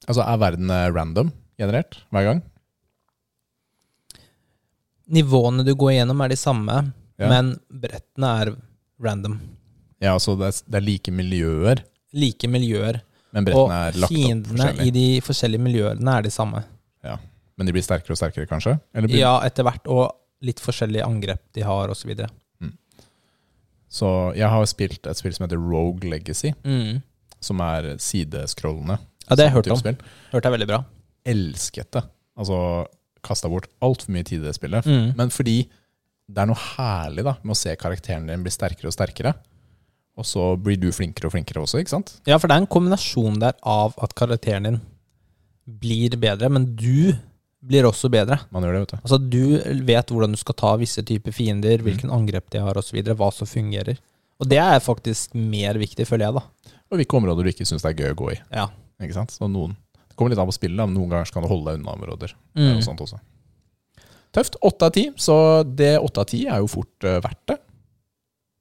Altså, er verden eh, random generert hver gang?
Nivåene du går igjennom, er de samme,
Ja.
men brettene er random.
Ja, altså det er, det er like miljøer,
Like miljøer.
men
Og
brettene er lagt opp
fiendene i
forskjellig.
de forskjellige miljøene er de samme.
Men de blir sterkere og sterkere, kanskje? Eller blir,
Ja, etter hvert, og litt forskjellige angrep de har, osv.
Så jeg har spilt et spill som heter Rogue Legacy,
Mm.
som er sidescrollende.
Ja, det har jeg hørt
Sånn
om.
type spill.
Hørte jeg veldig bra.
Elsket det. Altså kasta bort altfor mye tid i det spillet.
Mm.
Men fordi det er noe herlig da med å se karakteren din bli sterkere og sterkere. Og så blir du flinkere og flinkere også, ikke sant?
Ja, for det er en kombinasjon der av at karakteren din blir bedre, men du blir også bedre.
Man gjør det, vet du.
Altså, du vet hvordan du skal ta visse typer fiender, hvilken angrep de har osv., hva som fungerer. Og det er faktisk mer viktig, føler jeg, da.
Og hvilke områder du ikke syns det er gøy å gå i.
Ja.
Ikke sant? Så noen, det kommer litt an på spillet, da, men noen ganger så kan du holde deg unna områder. Det er
Mm.
jo sånt også. Tøft. Åtte av ti. Så det åtte av ti er jo fort eh, verdt det.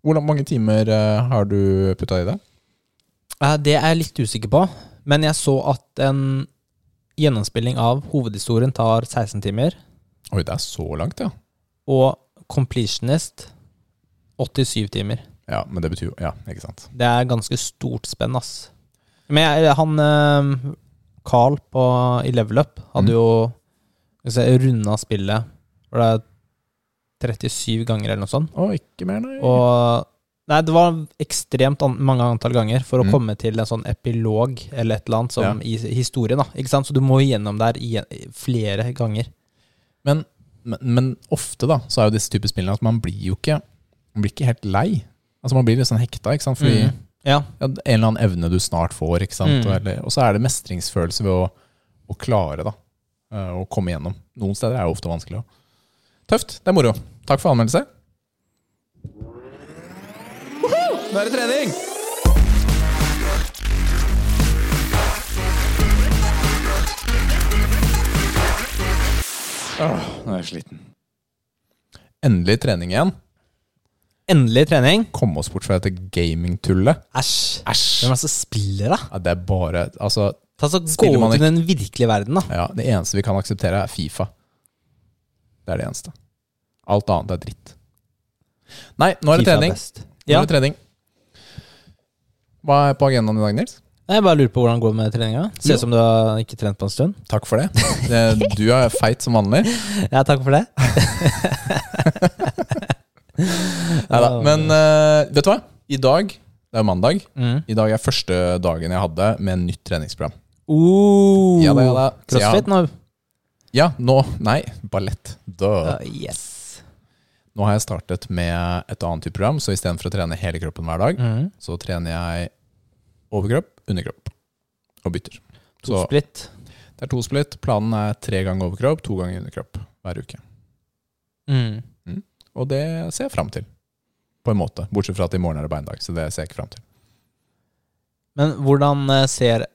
Hvor lang- mange timer eh, har du putta i det?
Eh, Det er jeg litt usikker på, men jeg så at en gjennomspilling av hovedhistorien tar 16 timer,
Oi, det er så langt, ja.
og completionist 87 timer.
Ja, men det betyr jo Ja, ikke sant.
Det er ganske stort spenn, ass. Men jeg, han eh, Carl på, i Level Up
Mm.
hadde jo skal vi se, runda spillet var det 37 ganger eller noe sånt.
Å, ikke mer, nei.
Og Nei, det var ekstremt an mange antall ganger for å
Mm.
komme til en sånn epilog eller et eller annet som i historien. da, ikke sant? Så du må igjennom der igjen, flere ganger.
men, men ofte da, så er jo disse typer spillene at man blir jo ikke Man blir ikke helt lei. Altså Man blir litt sånn hekta, ikke sant? Fordi
Mm. Ja.
ja, en eller annen evne du snart får, ikke sant?
Mm.
Og, eller, og så er det mestringsfølelse ved å, å klare, da. eh, Å komme gjennom. Noen steder er det ofte vanskelig òg. Tøft. Det er moro. Takk for anmeldelse.
Nå er det trening!
Ah, nå er jeg sliten. Endelig trening igjen.
Endelig trening.
Komme oss bort fra dette gamingtullet.
Æsj.
Æsj!
Hvem er det som spiller, da?
Ja, det er bare Altså,
Ta så Gå
Spiller man
ut i den virkelige verden, da.
ja, det eneste vi kan akseptere, er Fifa. Det er det eneste. Alt annet er dritt. Nei, nå er det
FIFA er
trening.
best.
Nå
Ja.
er det trening. Hva er på agendaen i dag, Nils?
Nei, Jeg bare lurer på hvordan det går med treninga. Ser ut som du har ikke trent på en stund.
Takk for det. <laughs> det. Du er feit som vanlig.
Ja, takk for det.
Neida. Men eh, vet du hva? I dag, det er jo mandag,
Mm.
i dag er første dagen jeg hadde med nytt treningsprogram.
Oh,
Ja da, ja da. Så jeg har-
Crossfit nå.
Ja, nå Nei, ballett. Duh.
Ja, Ah, yes.
Nå har jeg startet med et annet type program, så istedenfor å trene hele kroppen hver dag,
Mm.
så trener jeg overkropp, underkropp og bytter. Så
Toppsplitt.
det er to splitt. Planen er tre ganger overkropp, to ganger underkropp hver uke.
Mm.
Og det ser jeg fram til. På en måte. Bortsett fra at i morgen er det beindag, så det ser jeg ikke fram til.
Men hvordan eh, ser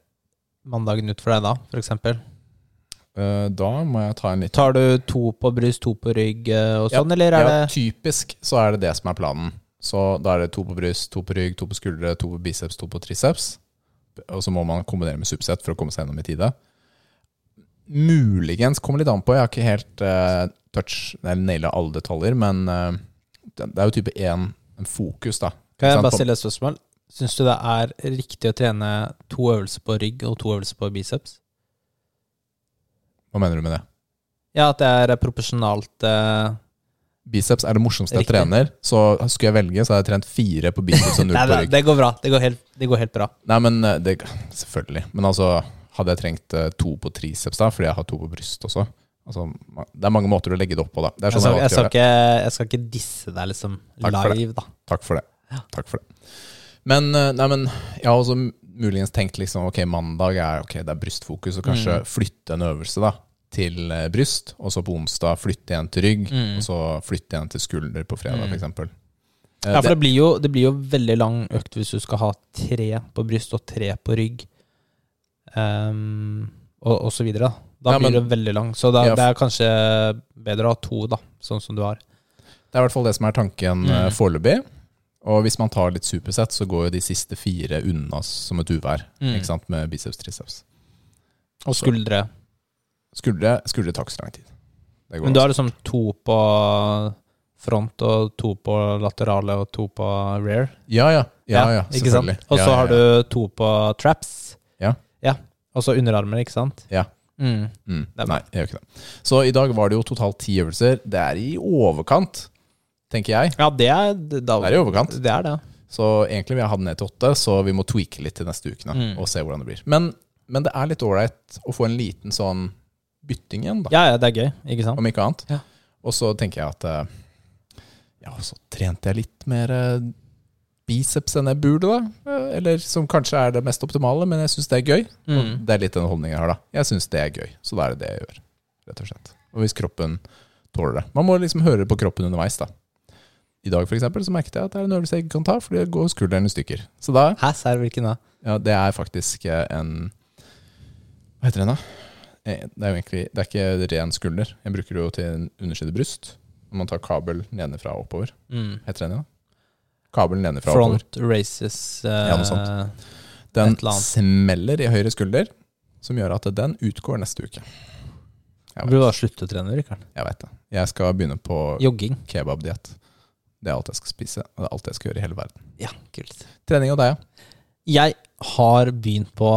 mandagen ut for deg da, for eksempel?
Eh, Da må jeg ta en litt
Tar du to på bryst, to på rygg eh, og
Ja,
sånn, eller er
Ja,
det
typisk så er det det som er planen. Så da er det to på bryst, to på rygg, to på skuldre, to på biceps, to på triceps. Og så må man kombinere med subsett for å komme seg gjennom i tide. Muligens kommer litt an på. Jeg har ikke helt eh, touch, eller naila alle detaljer, men eh, det det er jo type 1 en fokus, da.
Kan
sant,
jeg
på-
bare stille et spørsmål? Syns du det er riktig å trene to øvelser på rygg og to øvelser på biceps?
Hva mener du med det?
Ja, at det er proporsjonalt eh,
Biceps er det morsomste jeg
Riktig.
trener, så skulle jeg velge, så hadde jeg trent fire på biceps
<laughs>
og null
Nei,
på
det,
rygg.
det går bra. Det går helt, det går helt bra.
Nei, men eh, det, Selvfølgelig. Men altså, hadde jeg trengt eh, to på triceps da, fordi jeg har to på bryst også altså, ma- Det er mange måter å legge det opp på, da. Det er
Jeg
sånn
skal,
jeg
jeg,
alltid
skal
gjør det.
ikke, jeg skal ikke disse deg liksom
Takk for det.
live, da.
Takk for det. Takk for det. Men, eh, nei, men jeg har
Mm.
også muligens tenkt liksom, ok, mandag er ok, det er brystfokus, og kanskje flytte en øvelse da, til eh, bryst, og så på onsdag flytte igjen til rygg,
Mm.
og så flytte igjen til skulder på fredag,
Mm.
for f.eks.
Ja, for det blir, jo, det blir jo veldig lang økt hvis du skal ha tre på bryst og tre på rygg, Ehm, og, og så videre. Da, da
Ja, men-
blir det veldig lang. Så da,
Ja, f-
det er kanskje bedre å ha to, da, sånn som du har.
Det er i hvert fall det som er tanken
Mm.
eh, foreløpig. Og hvis man tar litt supersett, så går jo de siste fire unna som et uvær.
Mm.
Ikke sant? Med biceps, triceps.
Og skuldre.
Skuldre, skuldre tar ikke så lang tid. Det går
Men du
altså.
har liksom to på front og to på laterale og to på rear.
Ja, ja. ja, ja,
ikke sant?
selvfølgelig.
Og så
Ja, ja,
har
ja.
du to på traps.
Ja.
Og så underarmer, ikke sant?
Ja.
Mm.
mm.
er bra.
Nei, jeg gjør ikke det. Så i dag var det jo totalt ti øvelser. Det er i overkant, tenker jeg.
Ja, det er det, da,
Det er i overkant.
det. Er det.
Så egentlig vil jeg ha den ned til åtte, så vi må tweake litt til neste ukene
Mm.
og se hvordan det blir. Men, men det er litt ålreit å få en liten sånn bytting igjen, da.
Ja, ja, det er gøy, ikke sant?
om ikke annet.
Ja.
Og så tenker jeg at eh, Ja, så trente jeg litt mer eh, biceps enn jeg burde, da. Eh, Eller som kanskje er det mest optimale, men jeg syns det er gøy. Og
Mm.
Det er litt den holdningen jeg har, da. Jeg syns det er gøy, så da er det det jeg gjør. Rett og slett. Og hvis kroppen tåler det. Man må liksom høre på kroppen underveis, da. I dag for eksempel, så merket jeg at det er en øvelse jeg ikke kan ta, fordi det går skulderen i stykker. Så da
Hæ, serr, hvilken da?
ja, det er faktisk eh, en Hva heter den, da? Eh, Det er jo egentlig Det er ikke ren skulder. Jeg bruker det jo til en underside bryst. Når man tar kabel nedenfra og oppover.
Mm.
Heter den det? da? Kabel nedenfra og oppover.
Front races eh,
Ja, noe sånt. Den
et eller annet.
smeller i høyre skulder, som gjør at den utgår neste uke.
Du
Jeg
burde
vet,
bare slutte å trene, Rikard.
jeg vet det. Jeg skal begynne på
Jogging.
kebabdiett. Det er alt jeg skal spise, og det er alt jeg skal gjøre i hele verden.
Ja, kult.
Trening og deg, ja.
Jeg har begynt på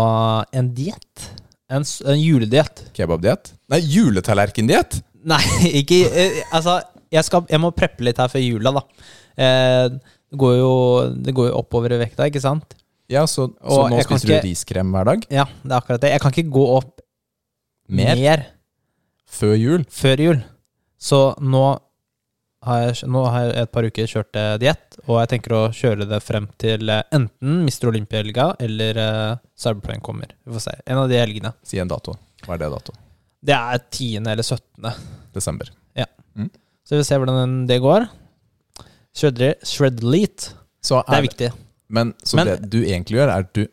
en diett. En, s- en julediett.
Kebabdiett? Nei, juletallerkendiett!
Nei, <laughs> ikke eh, Altså, jeg, skal, jeg må preppe litt her før jula, da. Eh, det, går jo, det går jo oppover i vekta, ikke sant?
Ja, så, så
Og
nå
jeg kan
spiser
ikke-
du riskrem hver dag?
Ja, det er akkurat det. Jeg kan ikke gå opp
Mer?
mer
Før jul?
før jul. Så nå har jeg, nå har jeg et par uker kjørt eh, diett, og jeg tenker å kjøre det frem til eh, enten Mr. Olympia-helga eller eh, Cyberprank kommer. Vi får se. En av de helgene.
Si en dato. Hva er det dato?
Det er 10. eller 17.
Desember.
Så vi får se hvordan det går. Shredder- Shredleet.
Så
Det er
er,
viktig.
men så
Men-
det du egentlig gjør, er at du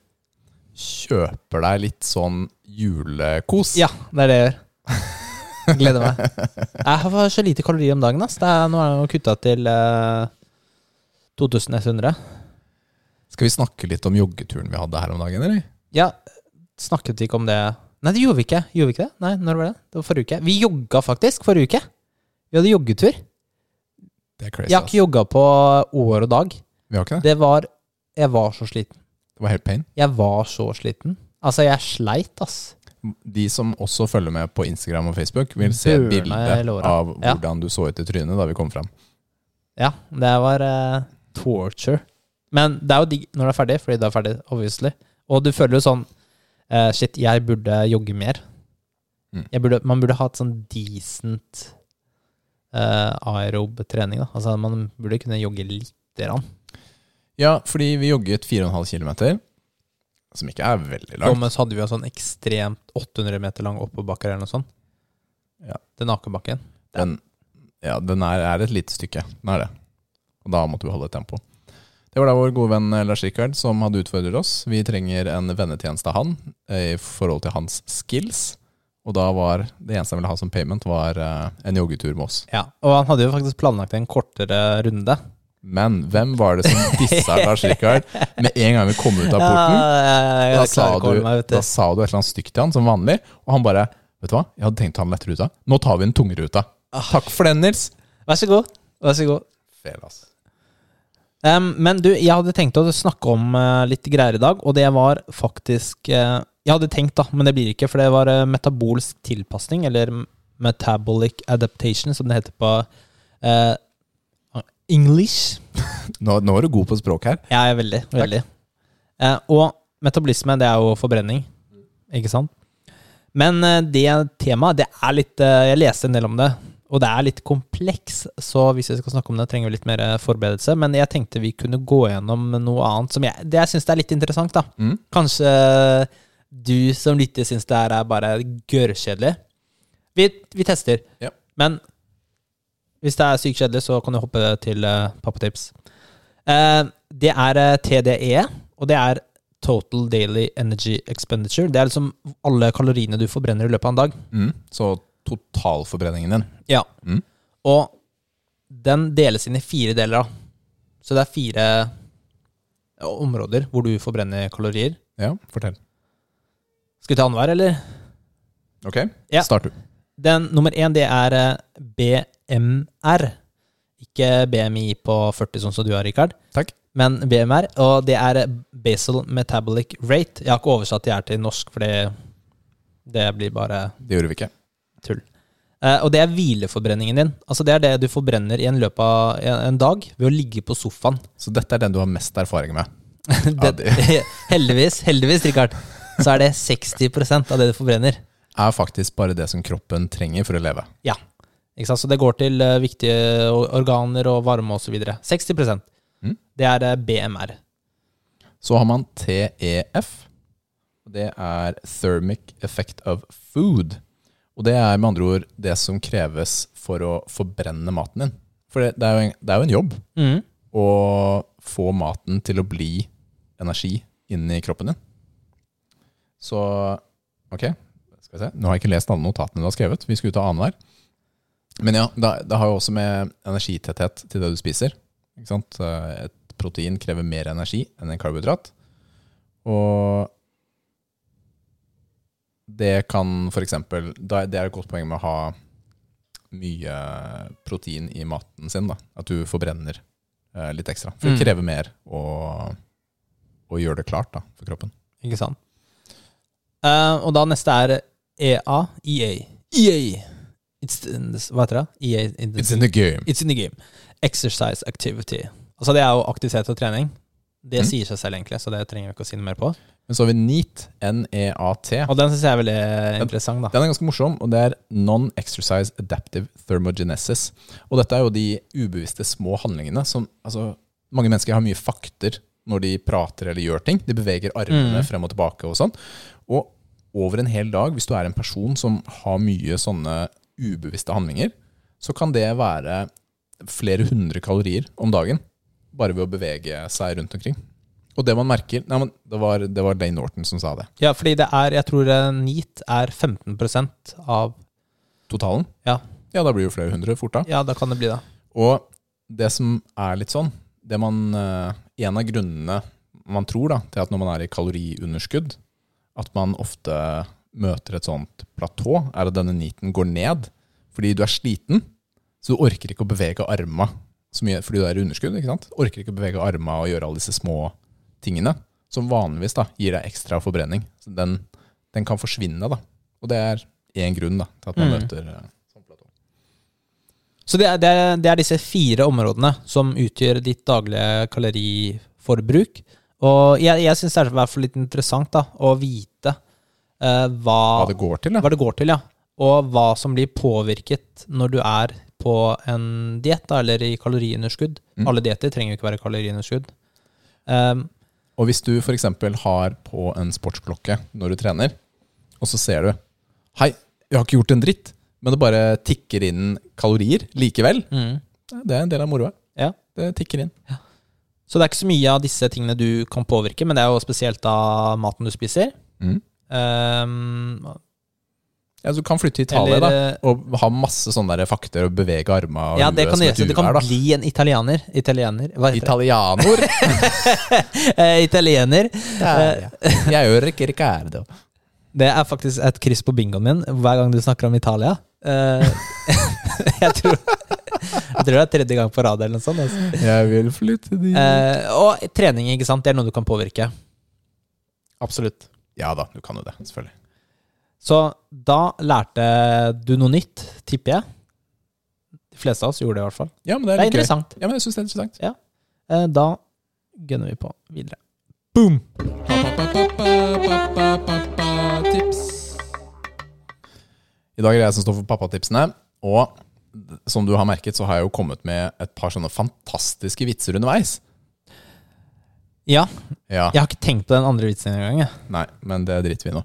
kjøper deg litt sånn julekos.
Ja, det er det jeg gjør. Gleder meg. Jeg har for så lite kalorier om dagen. Ass. Det er, nå er jeg jo kutta til eh, 2100.
Skal vi snakke litt om joggeturen vi hadde her om dagen, eller?
Ja, snakket vi ikke om det Nei, det gjorde vi ikke. Gjorde vi ikke det? Nei, når var det? Det var forrige uke. Vi jogga faktisk forrige uke. Vi hadde joggetur.
Det er crazy.
Jeg har ikke
ass.
jogga på år og dag.
Vi har ikke det?
Det var Jeg var så sliten.
Det var helt pain.
Jeg var så sliten. Altså, jeg sleit, ass.
De som også følger med på Instagram og Facebook, vil se
Burna i
bildet
låra.
av
Ja.
hvordan du så ut i trynet da vi kom fram.
Ja, det var eh, torture. Men det er jo digg når det er ferdig, fordi det er ferdig, obviously. Og du føler jo sånn eh, Shit, jeg burde jogge mer.
Mm.
Jeg burde, man burde ha et sånn decent eh, aerob trening, da. Altså man burde kunne jogge lite grann.
Ja, fordi vi jogget 4,5 km, som ikke er veldig langt.
Gommes hadde vi jo en sånn ekstremt 800 meter lang oppoverbakke eller noe sånt.
Ja.
Den akebakken.
Den, ja, den er, er et lite stykke. Den er det. Og da måtte vi holde tempo. Det var da vår gode venn eh, Lars Rikard som hadde utfordret oss. Vi trenger en vennetjeneste av han eh, i forhold til hans skills. Og da var det eneste han ville ha som payment, var eh, en joggetur med oss.
Ja, og han hadde jo faktisk planlagt en kortere runde.
Men hvem var det
<laughs>
som dissa Lars Rikard med en gang vi kom ut av porten?
jeg,
Da
jeg
sa,
klarer ikke å
du,
holde meg, vet du.
da sa du et eller annet stygt til han, som vanlig. Og han bare Vet du hva, jeg hadde tenkt å ta den lette ruta. Nå tar vi den tunge ruta.
Ah.
Takk for den, Nils.
Vær så god. Vær så god.
Fel, altså.
Em, men du, jeg hadde tenkt å snakke om eh, litt greier i dag, og det var faktisk eh, Jeg hadde tenkt, da, men det blir ikke, for det var eh, metabolsk tilpasning, eller metabolic adaptation, som det heter på eh, English.
Nå, nå er du god på språk her.
Ja, jeg er veldig. veldig. Eh, og metabolisme, det er jo forbrenning, ikke sant? Men eh, det temaet, det er litt eh, Jeg leste en del om det, og det er litt kompleks, så hvis vi skal snakke om det, trenger vi litt mer eh, forberedelse. Men jeg tenkte vi kunne gå gjennom noe annet som jeg, det jeg syns er litt interessant, da. eh,
Mm.
Kanskje du som lytter syns det her er bare gørrkjedelig. Vi Vi, vi tester.
Ja.
Men hvis det er sykt kjedelig, så kan du hoppe til uh, pappatips. Eh, det er eh, TDE, og det er Total Daily Energy Expenditure. Det er liksom alle kaloriene du forbrenner i løpet av en dag.
Mm. Så totalforbrenningen din.
Ja.
Mm.
Og den deles inn i fire deler, da. Så det er fire eh, områder hvor du forbrenner kalorier.
Ja, fortell.
Skal vi ta annenhver, eller?
Ok,
Ja.
start du.
Den nummer én, det er eh, BMR. Ikke BMI på 40, sånn som du har, Rikard.
Takk.
Men BMR. Og det er eh, Basal Metabolic Rate. Jeg har ikke oversatt det her til norsk, for det, det blir bare
Det gjorde vi ikke.
tull. Eh, og det er hvileforbrenningen din. Altså Det er det du forbrenner i en løpet av en, en dag ved å ligge på sofaen. <laughs>
Så dette er den du har mest erfaring med. Ja,
det, <laughs> heldigvis, heldigvis, Rikard, så er det 60 av det du forbrenner.
Er faktisk bare det som kroppen trenger for å leve.
Ja. Ikke sant? Så det går til eh, viktige o- organer og varme osv. 60
Mm.
Det er eh, BMR.
Så har man TEF. og Det er Thermic Effect of Food. Og det er med andre ord det som kreves for å forbrenne maten din. For det, det, er, jo en, det er jo en jobb
Mm.
å få maten til å bli energi inni kroppen din. Så ok, skal vi se. Nå har jeg ikke lest alle notatene du har skrevet. Vi skulle ta annenhver. Men ja, det, det har jo også med energitetthet til det du spiser. Ikke sant? Eh, Et protein krever mer energi enn en karbohydrat. Og det kan f.eks. Det er et godt poeng med å ha mye protein i maten sin. Da. At du forbrenner eh, litt ekstra. For
Mm.
å kreve mer og, og gjøre det klart da, for kroppen.
Ikke sant? Eh, og da neste er E EA. EA. EA. E It's in this, hva heter det? EA in the,
It's in the game.
it's in the game. Exercise activity. Altså Det er jo aktivitet og trening. Det
Mm.
sier seg selv, egentlig, så det trenger vi ikke å si noe mer på.
Men så har vi NEAT, N-E-A-T.
Og den syns jeg er veldig interessant, da.
Den er ganske morsom, og det er Non-Exercise Adaptive Thermogenesis. Og dette er jo de ubevisste små handlingene som altså, Mange mennesker har mye fakter når de prater eller gjør ting. De beveger armene
Mm.
frem og tilbake og sånn. Og over en hel dag, hvis du er en person som har mye sånne ubevisste handlinger, så kan det være flere hundre kalorier om dagen bare ved å bevege seg rundt omkring. Og det man merker nei, men det, var, det var Dane Norton som sa det.
Ja, fordi det er Jeg tror eh, NEAT er 15 av
Totalen?
Ja.
Ja, da blir det jo flere hundre fort da.
Ja, da kan det bli det.
Og det som er litt sånn, det man, eh, en av grunnene man tror da, til at når man er i kaloriunderskudd, at man ofte møter et sånt platå, er at denne niten går ned, fordi du er sliten, så du orker ikke å bevege arma så mye, fordi du er i underskudd, ikke sant? Orker ikke å bevege arma og gjøre alle disse små tingene, som vanligvis da, gir deg ekstra forbrenning. Så den, den kan forsvinne da, og det er en grunn da, til at man
Mm.
møter eh, sånn platå.
Så det er, det, er, det er disse fire områdene som utgjør ditt daglige kaloriforbruk. Og jeg, jeg syns det er i hvert fall litt interessant da, å vite eh, hva,
Hva
hva,
det
det
går til da.
går til, ja. og hva som blir påvirket når du er på en diett eller i kaloriunderskudd.
Mm.
Alle dietter trenger jo ikke være kaloriunderskudd. Um,
Og hvis du f.eks. har på en sportsklokke når du trener, og så ser du Hei, jeg har ikke gjort en dritt, men det bare tikker inn kalorier likevel.
mm,
Det er en del av moroa.
ja.
Det tikker inn.
Så det er ikke så mye av disse tingene du kan påvirke, men det er jo spesielt av maten du spiser.
Mm.
Um,
Ja, du kan flytte til Italia
eller, eh,
da, og ha masse sånne der fakter og bevege arma og
Ja, det
huet
kan du
som et
gjøre. så Du
uvær,
kan
da.
bli en italiener. Italiener. Hva heter <laughs>
Italianor.
det? Eh, italiener.
Der, ja. Jeg gjør ikke Ricardo.
Det er faktisk et kryss på bingoen min hver gang du snakker om Italia. Eh, <laughs> jeg, tror, jeg tror det er tredje gang på rad eller noe sånt. Altså.
Jeg vil flytte dit.
Eh, og trening, ikke sant. Det er noe du kan påvirke. Absolutt.
Ja da, du kan jo det, selvfølgelig.
Så da lærte du noe nytt, tipper jeg. De fleste av oss gjorde det, i hvert fall.
Ja, men det
Det er
er, litt gøy.
interessant.
Ja, men jeg synes det er interessant.
Eh, da gunner vi på videre. Boom!
I dag er det jeg som står for pappatipsene. Og som du har merket, så har jeg jo kommet med et par sånne fantastiske vitser underveis.
Ja,
Ja,
jeg har ikke tenkt på den andre vitsen engang. jeg.
Nei, men det driter vi i nå.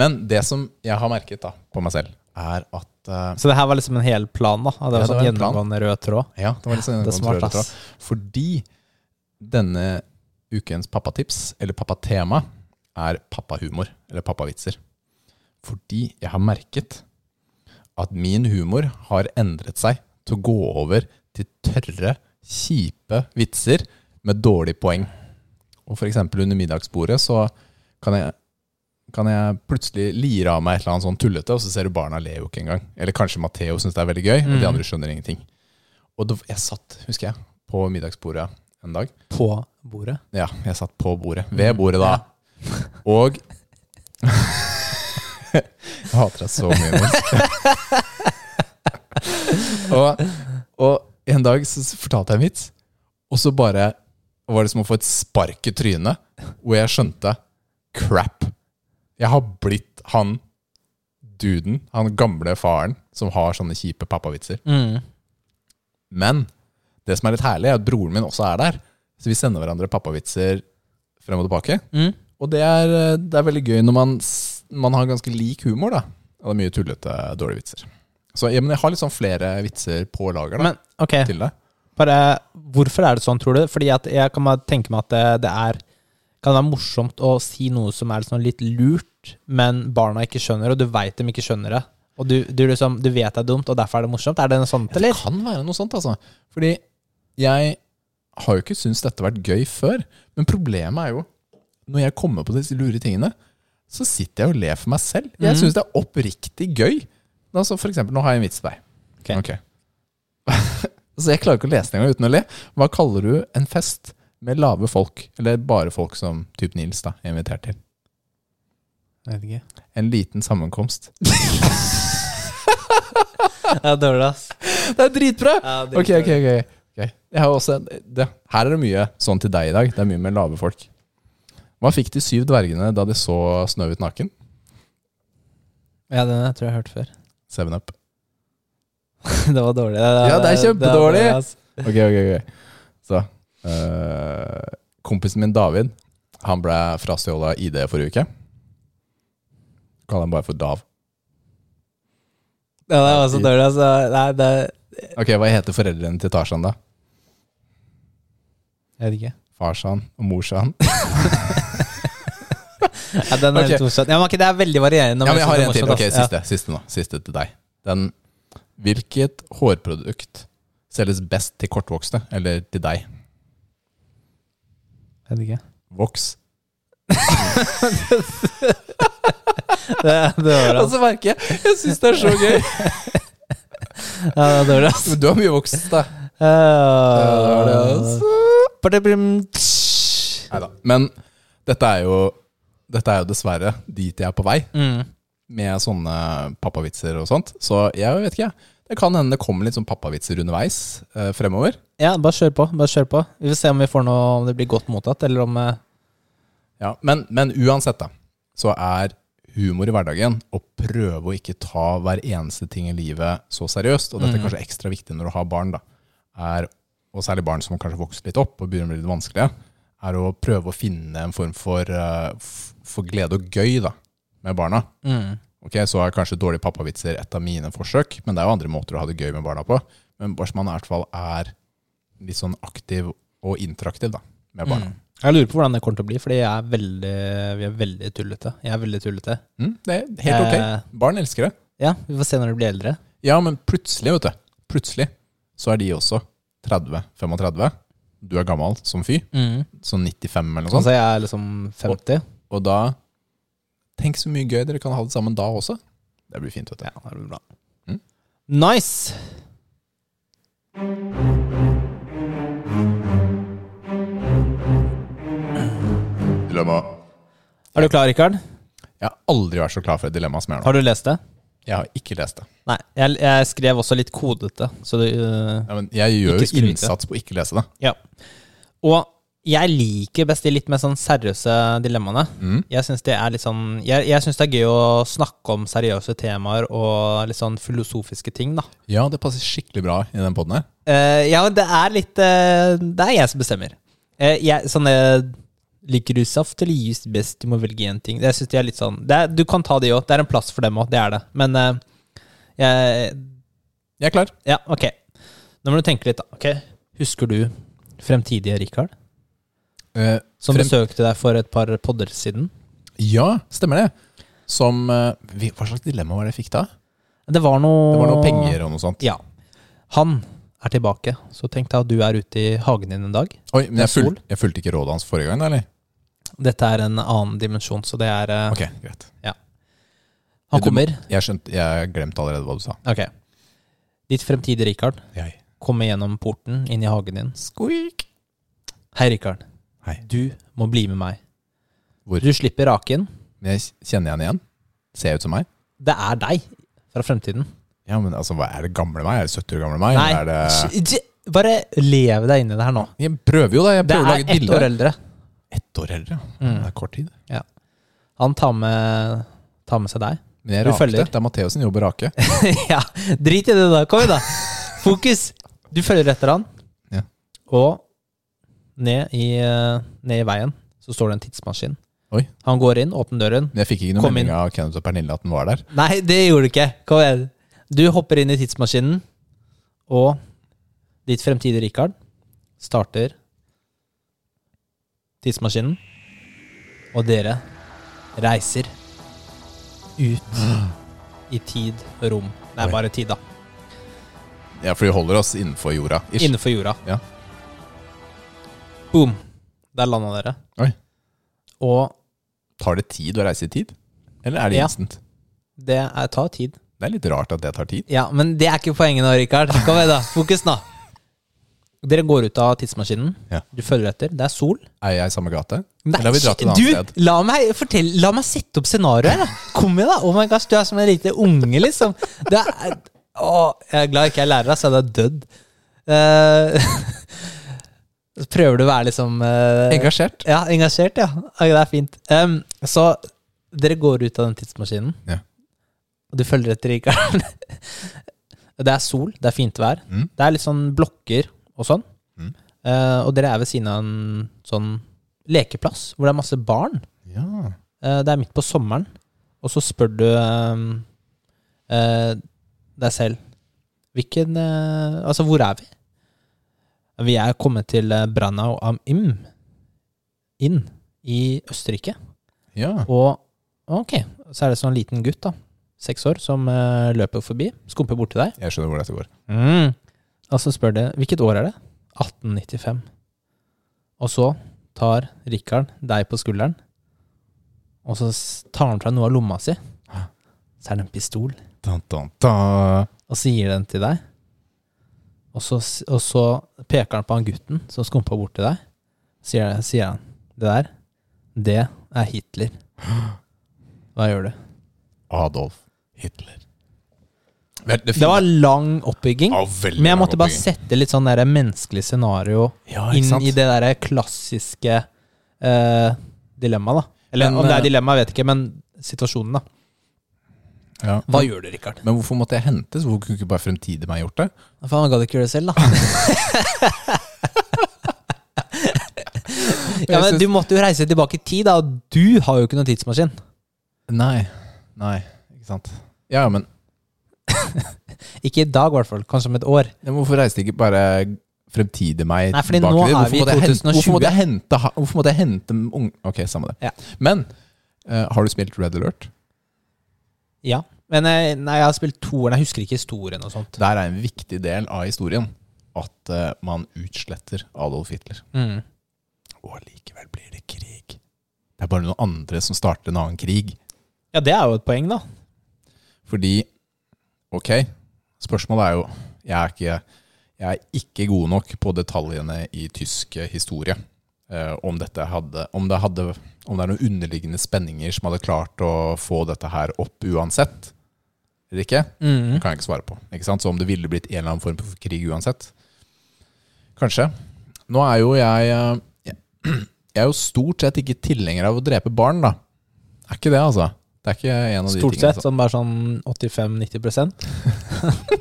Men det som jeg har merket da, på meg selv, er at eh,
Så det her var liksom en hel plan, da? At Det var
Ja, det
sånn
var en plan.
gjennomgående rød tråd?
Ja, det var litt sånn
Det er smart,
kontrollert,
ass.
tror jeg. Fordi denne ukens pappatips, eller pappatema, er pappahumor, eller pappavitser. Fordi jeg har merket at min humor har endret seg til å gå over til tørre, kjipe vitser med dårlig poeng. Og for eksempel under middagsbordet så kan jeg, kan jeg plutselig lire av meg et eller annet sånn tullete, og så ser du barna ler jo ikke engang. Eller kanskje Matheo syns det er veldig gøy, og
Mm.
de andre skjønner ingenting. Og da, jeg satt, husker jeg, på middagsbordet en dag.
På bordet?
Ja, jeg satt på bordet. Ved bordet, da. Og <laughs> Jeg hater deg så mye, Nils. <laughs> og, og en dag så fortalte jeg en vits, og så bare var det som å få et spark i trynet, hvor jeg skjønte crap. Jeg har blitt han duden, han gamle faren, som har sånne kjipe pappavitser.
Mm.
Men det som er litt herlig, er at broren min også er der. Så vi sender hverandre pappavitser frem og tilbake.
Mm.
Og det er, eh, det er veldig gøy når man, s- man har ganske lik humor, da. Og det er mye tullete, dårlige vitser. Så ja, men jeg har litt sånn flere vitser på lager da,
Men ok,
til deg.
bare hvorfor er det sånn, tror du? Fordi at jeg kan bare tenke meg at det, det er kan være morsomt å si noe som er sånn litt lurt, men barna ikke skjønner, og du veit dem ikke skjønner det. Og du, du, liksom, du vet det er dumt, og derfor er det morsomt. Er det noe sånt,
Det
eller?
kan være noe sånt, altså. Fordi jeg har jo ikke syntes dette har vært gøy før. Men problemet er jo, når jeg kommer på disse lure tingene, så sitter jeg og ler for meg selv. Jeg
Mhm.
syns det er oppriktig gøy. Altså, for eksempel, nå har jeg en vits til deg.
Ok.
<laughs> så jeg klarer ikke å lese den engang uten å le. Hva kaller du en fest med lave folk, eller bare folk som typ Nils da, er invitert til?
Jeg vet <laughs> ikke.
En liten
<laughs>
sammenkomst. <laughs>
Det er dårlig, ass.
Det er dritbra!
Ja, det er
Ok, ok,
dritdårlig.
ok. Ok. Jeg har også en, det, her er det mye sånn til deg i dag. Det er mye med lave folk. Hva fikk de syv dvergene da de så Snøhvit naken?
Ja, den jeg tror jeg har hørt før.
Seven up.
<laughs> Det var dårlig.
Ja, det er kjempedårlig.
ass.
Ok, ok, ok. Så, eh, kompisen min David, han ble frastjålet ID forrige uke. Kall han bare for Dav.
Ja, det var så dårlig, altså. Nei, det
Ok, hva heter foreldrene til Tarzan da?
Jeg vet ikke.
Farsan og morsan.
Ja, den er
Ok.
litt morsom. Ja, men ok, det er veldig varierende.
Ja, men jeg har en
synes det er
til. Ok,
morsomt, ass.
siste, siste nå. Siste til deg. Den, hvilket hårprodukt selges best til kortvokste, eller til deg?
Ja. Jeg vet ikke.
Voks.
Det, det var bra.
så merker jeg, jeg syns det er så gøy.
Ja, det var dårlig, ass.
<laughs> Men du har mye voks, da.
Ah.
Neida. Men dette er jo dette er jo dessverre dit jeg er på vei,
Mm.
med sånne pappavitser og sånt. Så jeg vet ikke, jeg. Det kan hende det kommer litt sånn pappavitser underveis eh, fremover.
Ja, bare kjør på. bare kjør på Vi får se om vi får noe Om det blir godt mottatt, eller om eh,
Ja, men, men uansett, da, så er humor i hverdagen å prøve å ikke ta hver eneste ting i livet så seriøst, og dette er kanskje ekstra viktig når du har barn, da, er, og særlig barn som kanskje vokser litt opp og begynner å bli litt vanskelige, er å prøve å finne en form for, eh, f- for glede og gøy da, med barna.
mm.
Ok, Så er kanskje dårlige pappavitser et av mine forsøk, men det er jo andre måter å ha det gøy med barna på. Men bare så man i hvert fall er litt sånn aktiv og interaktiv da, med barna.
Mm. Jeg lurer på hvordan det kommer til å bli, fordi jeg er veldig vi er veldig tullete. Jeg er veldig tullete.
Mm, det er helt ok.
Eh,
Barn elsker det.
ja, vi får se når de blir eldre.
Ja, men plutselig, vet du. Plutselig så er de også 30-35. Du er gammel som fyr,
Mm.
sånn 95 eller noe sånt.
Altså, jeg er liksom 50.
Og da Tenk så mye gøy dere kan ha det sammen da også. Det blir fint, vet du.
Ja, det blir bra.
Mm.
Nice!
Dilemma.
Er du klar, Rikard?
Jeg har aldri vært så klar for et dilemma som jeg er nå.
Har du lest det?
Jeg har ikke lest det.
Nei. Jeg, jeg skrev også litt kodete, så det eh,
Ja, men jeg gjør
Ikke
jo
skryte.
innsats på å ikke lese det.
Ja. Og jeg liker best de litt mer sånn seriøse dilemmaene.
Mm.
Jeg syns det er litt sånn Jeg, jeg synes det er gøy å snakke om seriøse temaer og litt sånn filosofiske ting, da.
Ja, det passer skikkelig bra i den poden her.
Eh, ja, det er litt eh, Det er jeg som bestemmer. Eh, jeg, sånne Liker du saft eller juice best? Du må velge én ting. Det synes jeg er litt sånn det er, Du kan ta de òg. Det er en plass for dem òg. Det er det. Men eh, Jeg,
Jeg er klar.
ja, ok. Nå må du tenke litt, da. Ok. Husker du fremtidige Richard?
Eh,
Som
Frem-
besøkte deg for et par podder siden.
ja, stemmer det. Som eh, vi- Hva slags dilemma var det jeg fikk da?
Det var noe
Det var noe penger og noe sånt.
Ja. Han er tilbake. Så tenk deg at du er ute i hagen din en dag.
Oi, men
Det er
jeg, fulg,
sol.
jeg fulgte ikke rådet hans forrige gang, da, eller?
Dette er en annen dimensjon, så det er eh,
Ok, greit.
Han
Du må-
kommer.
Jeg skjønte, jeg glemte allerede hva du sa.
Ok. Ditt fremtidige Richard
Jeg.
kommer gjennom porten inn i hagen din.
Squeak.
Hei, Richard.
Hei.
Du må bli med meg.
Hvor?
Du slipper raken.
Men jeg kjenner jeg han igjen? Ser jeg ut som meg?
Det er deg fra fremtiden.
Ja, men altså, hva er det gamle meg? Er det 70 år gamle meg?
Nei,
eller Er det...
j- j- bare lev deg inn i det her nå.
Jeg prøver jo, da. Jeg
Det
prøver å
er
lage et
ett
bilde.
år
av det.
eldre.
Ett år eldre, ja.
Mm.
Det er kort tid.
Han tar med, tar med seg deg.
Men jeg
Du
rakte.
følger.
Det er Matheos sin jobb å rake.
ja, drit i det da. Kom igjen, da. Fokus. Du følger etter han.
Ja.
Og ned i, eh, ned i veien så står det en tidsmaskin.
Oi.
Han går inn, åpner døren.
Men jeg fikk ikke noe
Kom
melding
inn.
av Kenneth og Pernille at den var der.
Nei, det gjorde du ikke. Kom igjen. Du hopper inn i tidsmaskinen, og ditt fremtidige Richard starter tidsmaskinen, og dere reiser ut i tid og rom. Det
Oi.
er bare tid, da.
Ja, for vi holder oss innenfor jorda. Ish.
Innenfor jorda.
Ja.
Boom. Der landa dere.
Oi.
Og
Tar det tid å reise i tid? Eller er det
Ja.
instant?
det er, tar tid.
Det er litt rart at det tar tid.
Ja, men det er ikke poenget nå, Rikard. Kom igjen, da. Fokus nå. Dere går ut av tidsmaskinen.
Ja.
Du følger etter. Det er sol.
Er jeg i samme gate?
Nei,
Eller har vi dratt et
du,
annet sted?
la meg, fortell, la meg sette opp scenarioet. da. Kom igjen, da. Oh my gosh, du er som en liten unge, liksom. Det er, å, jeg er glad ikke jeg er lærer, så hadde jeg dødd. Eh, <laughs> så prøver du å være liksom eh,
Engasjert.
Ja, engasjert, ja. Oi, Det er fint. Em, så dere går ut av den tidsmaskinen,
Ja.
og du følger etter Rikard. <laughs> det er sol, det er fint vær.
Mm.
Det er litt sånn blokker og sånn.
Mm.
Eh, og dere er ved siden av en sånn lekeplass hvor det er masse barn.
Ja.
Eh, det er midt på sommeren, og så spør du em, eh, deg selv Hvilken eh, Altså, hvor er vi? Vi er kommet til eh, Branau am Im inn i Østerrike.
ja.
Og ok, så er det sånn liten gutt, da. Seks år, som eh, løper forbi. Skumper bort til deg.
Jeg skjønner hvor dette går. Mm.
Og så spør det hvilket år er det? 1895. Og så tar Rikard deg på skulderen, og så s- tar han fra noe av lomma si. Så er det en pistol,
Dun, dun, dun.
og så gir den til deg. Og så, s- og så peker han på han gutten som skumpa bort til deg. Sier, sier han det der, det er
<gasps>
Hitler. Hva gjør du?
Adolf Hitler. Vel, Det,
Det var lang oppbygging.
Ja, veldig
Men jeg
lang
måtte bare
oppbygging.
sette litt sånn der menneskelig scenario
Ja, ikke
inn
sant?
i det derre klassiske eh, dilemmaet, da. Eller
Men,
om det
eh,
er dilemma, jeg vet ikke, men situasjonen, da.
Ja.
Hva gjør du, Rikard?
Men hvorfor måtte jeg hentes? Hvorfor kunne ikke bare fremtidig meg gjort det?
Faen, han gadd ikke gjøre det selv, da. <laughs> ja, men Du måtte jo reise tilbake i tid, da, og du har jo ikke noen tidsmaskin.
Nei. Nei, ikke sant. Ja, men,
Ikke i dag, i hvert fall. Kanskje om et år.
ja, men hvorfor reiste ikke bare fremtidig meg
Nei, fordi
tilbake
nå
dit?
er
Hvorfor
vi i
måtte jeg hente-
2020.
Hvorfor måtte jeg hente, ha- hvorfor måtte jeg hente ung... Ok, samme det.
Ja.
Men eh, har du spilt Red Alert?
Ja. Men eh, nei, jeg har spilt toeren, jeg husker ikke historien og sånt.
Der er en viktig del av historien at eh, man utsletter Adolf Hitler.
Mm.
Og likevel blir det krig. Det er bare noen andre som starter en annen krig.
Ja, det er jo et poeng, da.
Fordi Ok, spørsmålet er jo Jeg er ikke, jeg er ikke god nok på detaljene i tysk eh, historie. Eh, om, dette hadde, om, det hadde, om det er noen underliggende spenninger som hadde klart å få dette her opp uansett. Eller ikke? Det
Mm.
kan jeg ikke svare på. Ikke sant? Så om det ville blitt en eller annen form for krig uansett. Kanskje. Nå er jo jeg <clears throat> eh, Jeg er jo stort sett ikke tilhenger av å drepe barn, da. Er ikke det, altså. Det er ikke en av de
Stort
tingene altså.
sett sånn bare sånn 85-90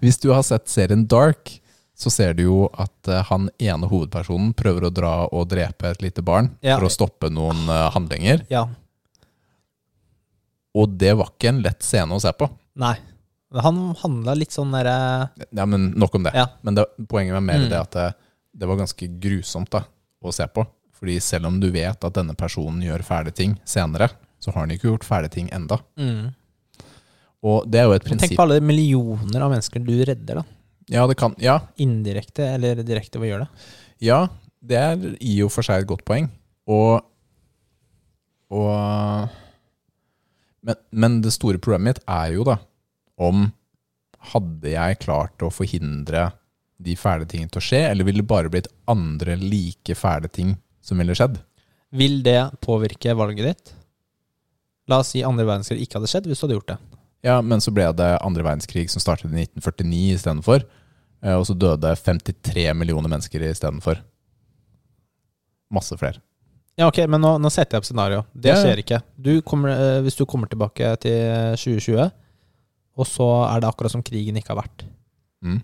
Hvis du har sett serien Dark, så ser du jo at eh, han ene hovedpersonen prøver å dra og drepe et lite barn
Ja.
for å stoppe noen eh, handlinger.
Ja.
Og det var ikke en lett scene å se på.
Nei. Han handla litt sånn derre
Ja, men Nok om det.
Ja.
Men det, poenget var mer
Mm.
det at det, det var ganske grusomt da, å se på. Fordi selv om du vet at denne personen gjør fæle ting senere, så har han ikke gjort fæle ting enda.
mm.
Og det er jo et
Tenk
prinsipp
på alle millioner av mennesker du redder, da.
ja det, kan, ja,
Indirekte eller direkte, hva gjør det?
ja, det er i og for seg et godt poeng. Og, og men, men det store problemet mitt er jo da om hadde jeg klart å forhindre de fæle tingene til å skje, eller ville det bare blitt andre like fæle ting som ville skjedd?
Vil det påvirke valget ditt? La oss si andre verdenskrig ikke hadde skjedd hvis du hadde gjort det.
Ja, men så ble det andre verdenskrig som startet i 1949 istedenfor. eh, Og så døde 53 millioner mennesker istedenfor. Masse flere.
Ja, ok, men nå, nå setter jeg opp scenario. Det
Ja, ja.
skjer ikke. Du kommer, eh, hvis du kommer tilbake til 2020, og så er det akkurat som krigen ikke har vært.
Mm.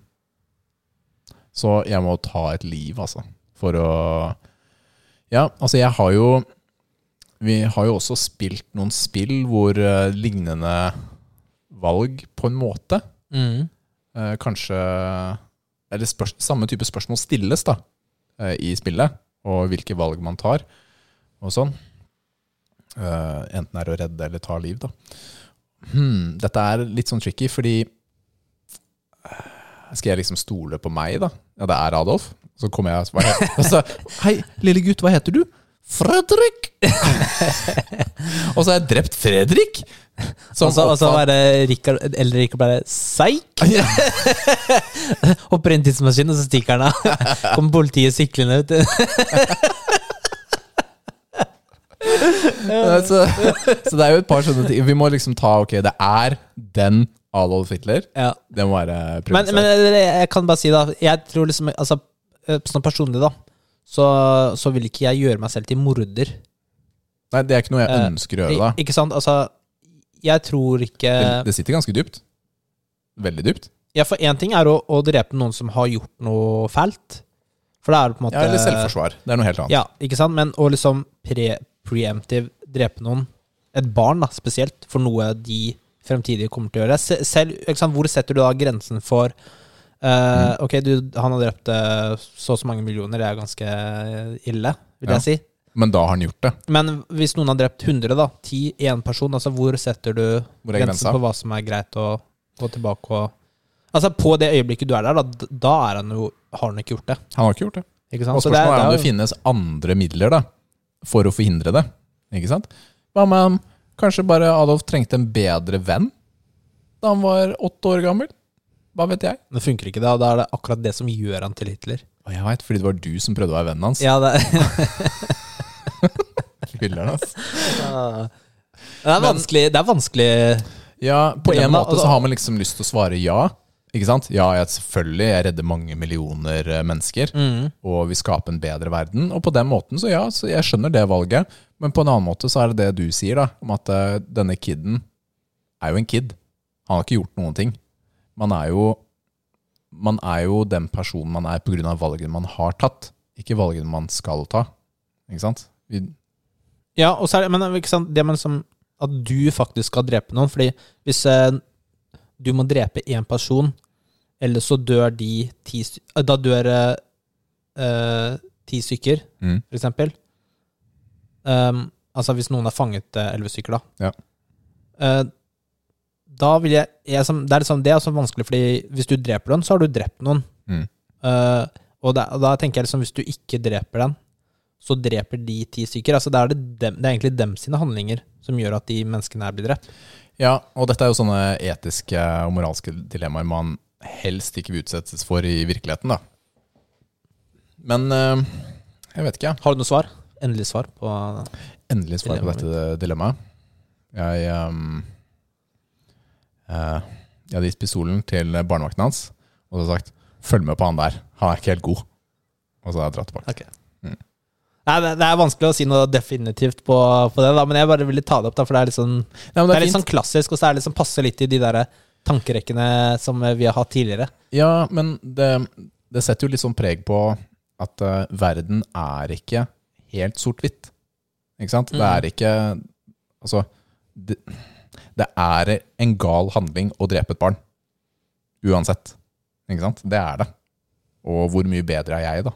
Så jeg må ta et liv, altså. For å Ja, altså, jeg har jo Vi har jo også spilt noen spill hvor eh, lignende valg, på en måte, eh, kanskje Eller spørs, samme type spørsmål stilles da eh, i spillet, og hvilke valg man tar, og sånn. Eh, enten er å redde eller ta liv, da. Hmm, dette er litt sånn tricky, fordi eh, Skal jeg liksom stole på meg, da? Ja, det er Adolf. Så kommer jeg og så bare- og så Hei, lille gutt, hva heter du? Fredrik! <laughs> og så har jeg drept Fredrik! som
Og så og så
oppfant-
var det Rikard Eller Rikard bare Seik!
<laughs>
Hopper inn i tidsmaskinen, og så stikker
<laughs>
han av. Kommer politiet syklende ut.
Ja, Så, <laughs> så det er jo et par sånne ting. Vi må liksom ta Ok, det er den Adolf Hitler.
Ja.
Det må være
Men,
premisset.
men eh, jeg kan bare si, da Jeg tror liksom altså, eh, Sånn personlig, da, så, så vil ikke jeg gjøre meg selv til morder.
Nei, det er ikke noe jeg
Eh,
ønsker å gjøre, da.
Ikke sant? Altså, jeg tror ikke
Det- Det sitter ganske dypt. Veldig dypt.
Ja, for én ting er å, å drepe noen som har gjort noe fælt. For da er det på en måte
Ja, eller selvforsvar. Det er noe helt annet.
eh, Ja, ikke sant? Men å liksom pre preemptive drepe noen, et barn da, spesielt, for noe de fremtidig kommer til å gjøre. Se- Selv, ikke sant? Hvor setter du da grensen for
Mm.
eh, Ok, du, han har drept eh, så og så mange millioner, det er ganske eh, ille, vil
Ja.
jeg si.
Men da har han gjort det.
Men hvis noen har drept 100, da, 10, én person, altså hvor setter du
Hvor er
grensen
grensa?
på hva som er greit å gå tilbake og Altså, på det øyeblikket du er der, da, da er han jo, har han ikke gjort det.
Han har ikke gjort det.
Ikke sant?
Og
Så det
spørsmålet er om
det
det finnes andre midler da, for å forhindre det. Ikke sant? Hva med om kanskje bare Adolf trengte en bedre venn da han var åtte år gammel? Hva vet jeg?
Det funker ikke, da. Da er det akkurat det som gjør han til Hitler.
Og jeg veit, fordi det var du som prøvde å være vennen hans.
Ja, det,
Filleren,
<laughs>
ass.
det, er vanskelig, det er vanskelig
Ja, på en
Dilemma,
måte så
altså-
har man liksom lyst til å svare ja. Ikke sant? Ja, jeg, selvfølgelig. Jeg redder mange millioner eh, mennesker.
Mm.
Og vi skaper en bedre verden. Og på den måten, så ja, så jeg skjønner det valget. Men på en annen måte så er det det du sier, da. Om at eh, denne kiden er jo en kid. Han har ikke gjort noen ting. Man er jo, man er jo den personen man er pga. valgene man har tatt. Ikke valgene man skal ta. Ikke sant? Vi,
Ja, og så er det, men ikke sant, det med liksom at du faktisk skal drepe noen Fordi hvis eh, du må drepe én person, eller så dør de ti sty- eh, Da dør eh, eh, ti stykker,
Mm.
for eksempel. Um, altså hvis noen har fanget eh, elleve stykker, da.
Ja.
Eh, da vil jeg, jeg som, det, er liksom, det er også vanskelig, fordi hvis du dreper noen, så har du drept noen.
Mm.
Eh, og, da- og da tenker jeg liksom, hvis du ikke dreper den, så dreper de ti stykker. Altså, det, er det, dem, det er egentlig dem sine handlinger som gjør at de menneskene her blir drept.
Ja, og dette er jo sånne etiske og moralske dilemmaer man helst ikke vil utsettes for i virkeligheten, da. Men eh, jeg vet ikke.
Har du noe svar? Endelig svar på
Endelig svar på
Dilemmaet
dette dilemmaet. Jeg eh, eh, Jeg hadde gitt pistolen til barnevakten hans og så hadde jeg sagt 'følg med på han der, han er ikke helt god'. Og så hadde jeg dratt tilbake.
Nei, det, det er vanskelig å si noe definitivt på, på det, da, men jeg bare ville ta det opp, da, for det er litt sånn, det
Nei, men
er litt
fint.
sånn klassisk, og så er det litt sånn passe litt i de der tankerekkene som vi har hatt tidligere.
Ja, men det, det setter jo litt sånn preg på at eh, verden er ikke helt sort-hvitt. Ikke sant? Det
Mhm.
er ikke Altså, det, Det er en gal handling å drepe et barn. Uansett. Ikke sant? Det er det. Og hvor mye bedre er jeg, da?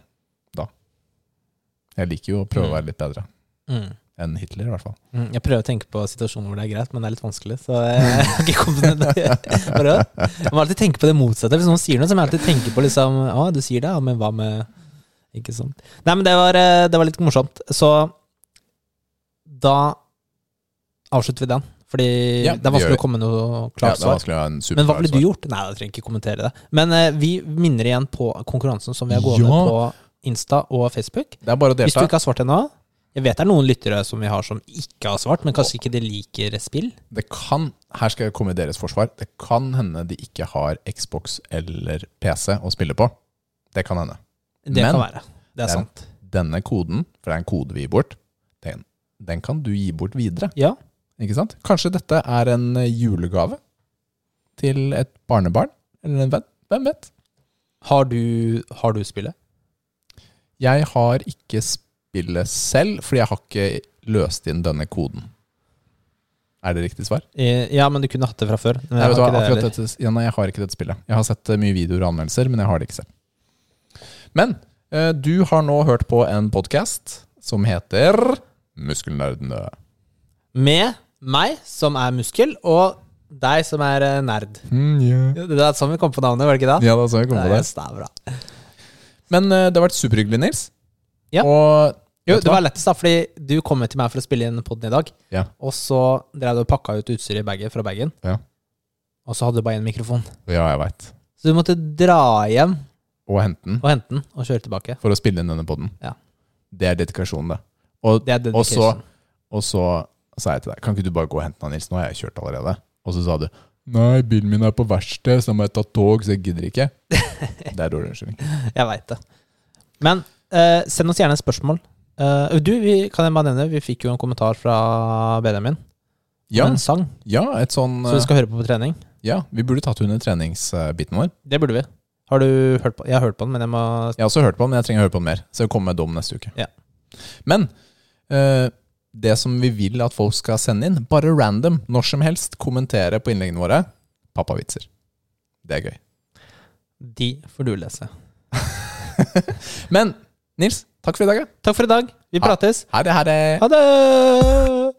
da? Jeg liker jo å prøve å være litt bedre
Mm.
enn Hitler, i hvert fall.
Mm, Jeg prøver å tenke på situasjoner hvor det er greit, men det er litt vanskelig. Så jeg <laughs> har ikke kommet ned der. <laughs>
<laughs>
Bare, Man må alltid tenke på det motsatte. Hvis noen sier noe, så må jeg alltid tenke på liksom, Ja, du sier det, ja, men hva med Ikke sant. Nei, men det var, eh, det var litt morsomt. Så da avslutter vi den. Fordi
Ja,
det er
vi gjør
vanskelig
det.
å komme med noe
Ja,
klart
det er
svar.
vanskelig å ha en
Men hva
superklar
ville du gjort? Nei, jeg trenger ikke kommentere det. Men eh, vi minner igjen på konkurransen som vi har gående
Ja.
på Insta og Facebook.
Det er bare å
Hvis du
delta.
ikke har svart ennå Jeg vet det er noen lyttere som vi har som ikke har svart, men kanskje ikke de liker spill.
Det kan, her skal jeg komme i deres forsvar, det kan hende de ikke har Xbox eller PC å spille på. Det kan hende.
Det
Men-
kan være. Det er
Den-
sant.
Denne koden, for det er en kode vi gir bort, den, den kan du gi bort videre.
Ja.
Ikke sant? Kanskje dette er en eh, julegave til et barnebarn eller en venn. Hvem vet?
Har du, har du spillet?
Jeg har ikke spillet selv, fordi jeg har ikke løst inn denne koden. Er det riktig svar?
Eh, Ja, men du kunne hatt det fra før. Men jeg
Jeg,
har
vet hva,
ikke det
akkurat
heller.
dette, ja, nei, jeg har ikke dette spillet. Jeg har sett eh, mye videoer og anmeldelser, men jeg har det ikke selv. Men eh, du har nå hørt på en podkast som heter Muskelnerdene.
Med meg, som er muskel, og deg, som er eh, nerd.
ja.
Det er sånn vi kom på navnet, var det ikke det?
da så jeg komme på det.
yes, det er bra.
Men eh, det har vært superhyggelig, Nils.
Ja.
Og
Jo,
Vet du
det
hva?
var lettest, da, fordi du kom jo til meg for å spille inn podden i dag.
Ja.
Og så drev du og pakka ut utstyret i bagen fra bagen,
Ja.
og så hadde du bare én mikrofon.
Ja, jeg veit.
Så du måtte dra hjem
Og hente den
og hente den, og kjøre tilbake.
for å spille inn denne podden.
Ja.
Det er dedikasjonen, det. Og,
Det er
og, så,
dedication.
og så sa jeg til deg Kan ikke du bare gå og hente den, Nils? Nå har jeg kjørt allerede. Og så sa du Nei, bilen min er på verksted, så da må jeg ta tog, så jeg gidder ikke. <laughs> Det er dårlig unnskyldning.
Jeg veit det. Men eh, send oss gjerne spørsmål. Eh, du, vi, kan jeg bare nevne, vi fikk jo en kommentar fra Benjamin om
Ja,
en sang
ja, et sånn eh,
som vi skal høre på på trening.
Ja, vi burde tatt under treningsbiten vår.
Det burde vi. Har du hørt på Jeg har hørt på den, men jeg må
Jeg har også hørt på den, men jeg trenger å høre på den mer. Så jeg kommer med dom neste uke.
Ja.
Men eh, det som vi vil at folk skal sende inn, bare random, når som helst, kommentere på innleggene våre pappavitser. Det er gøy.
De får du lese.
Men Nils, takk for i dag. ja.
Takk for i dag. Vi
Ha-
prates.
Ha det, ha det.
Ha det!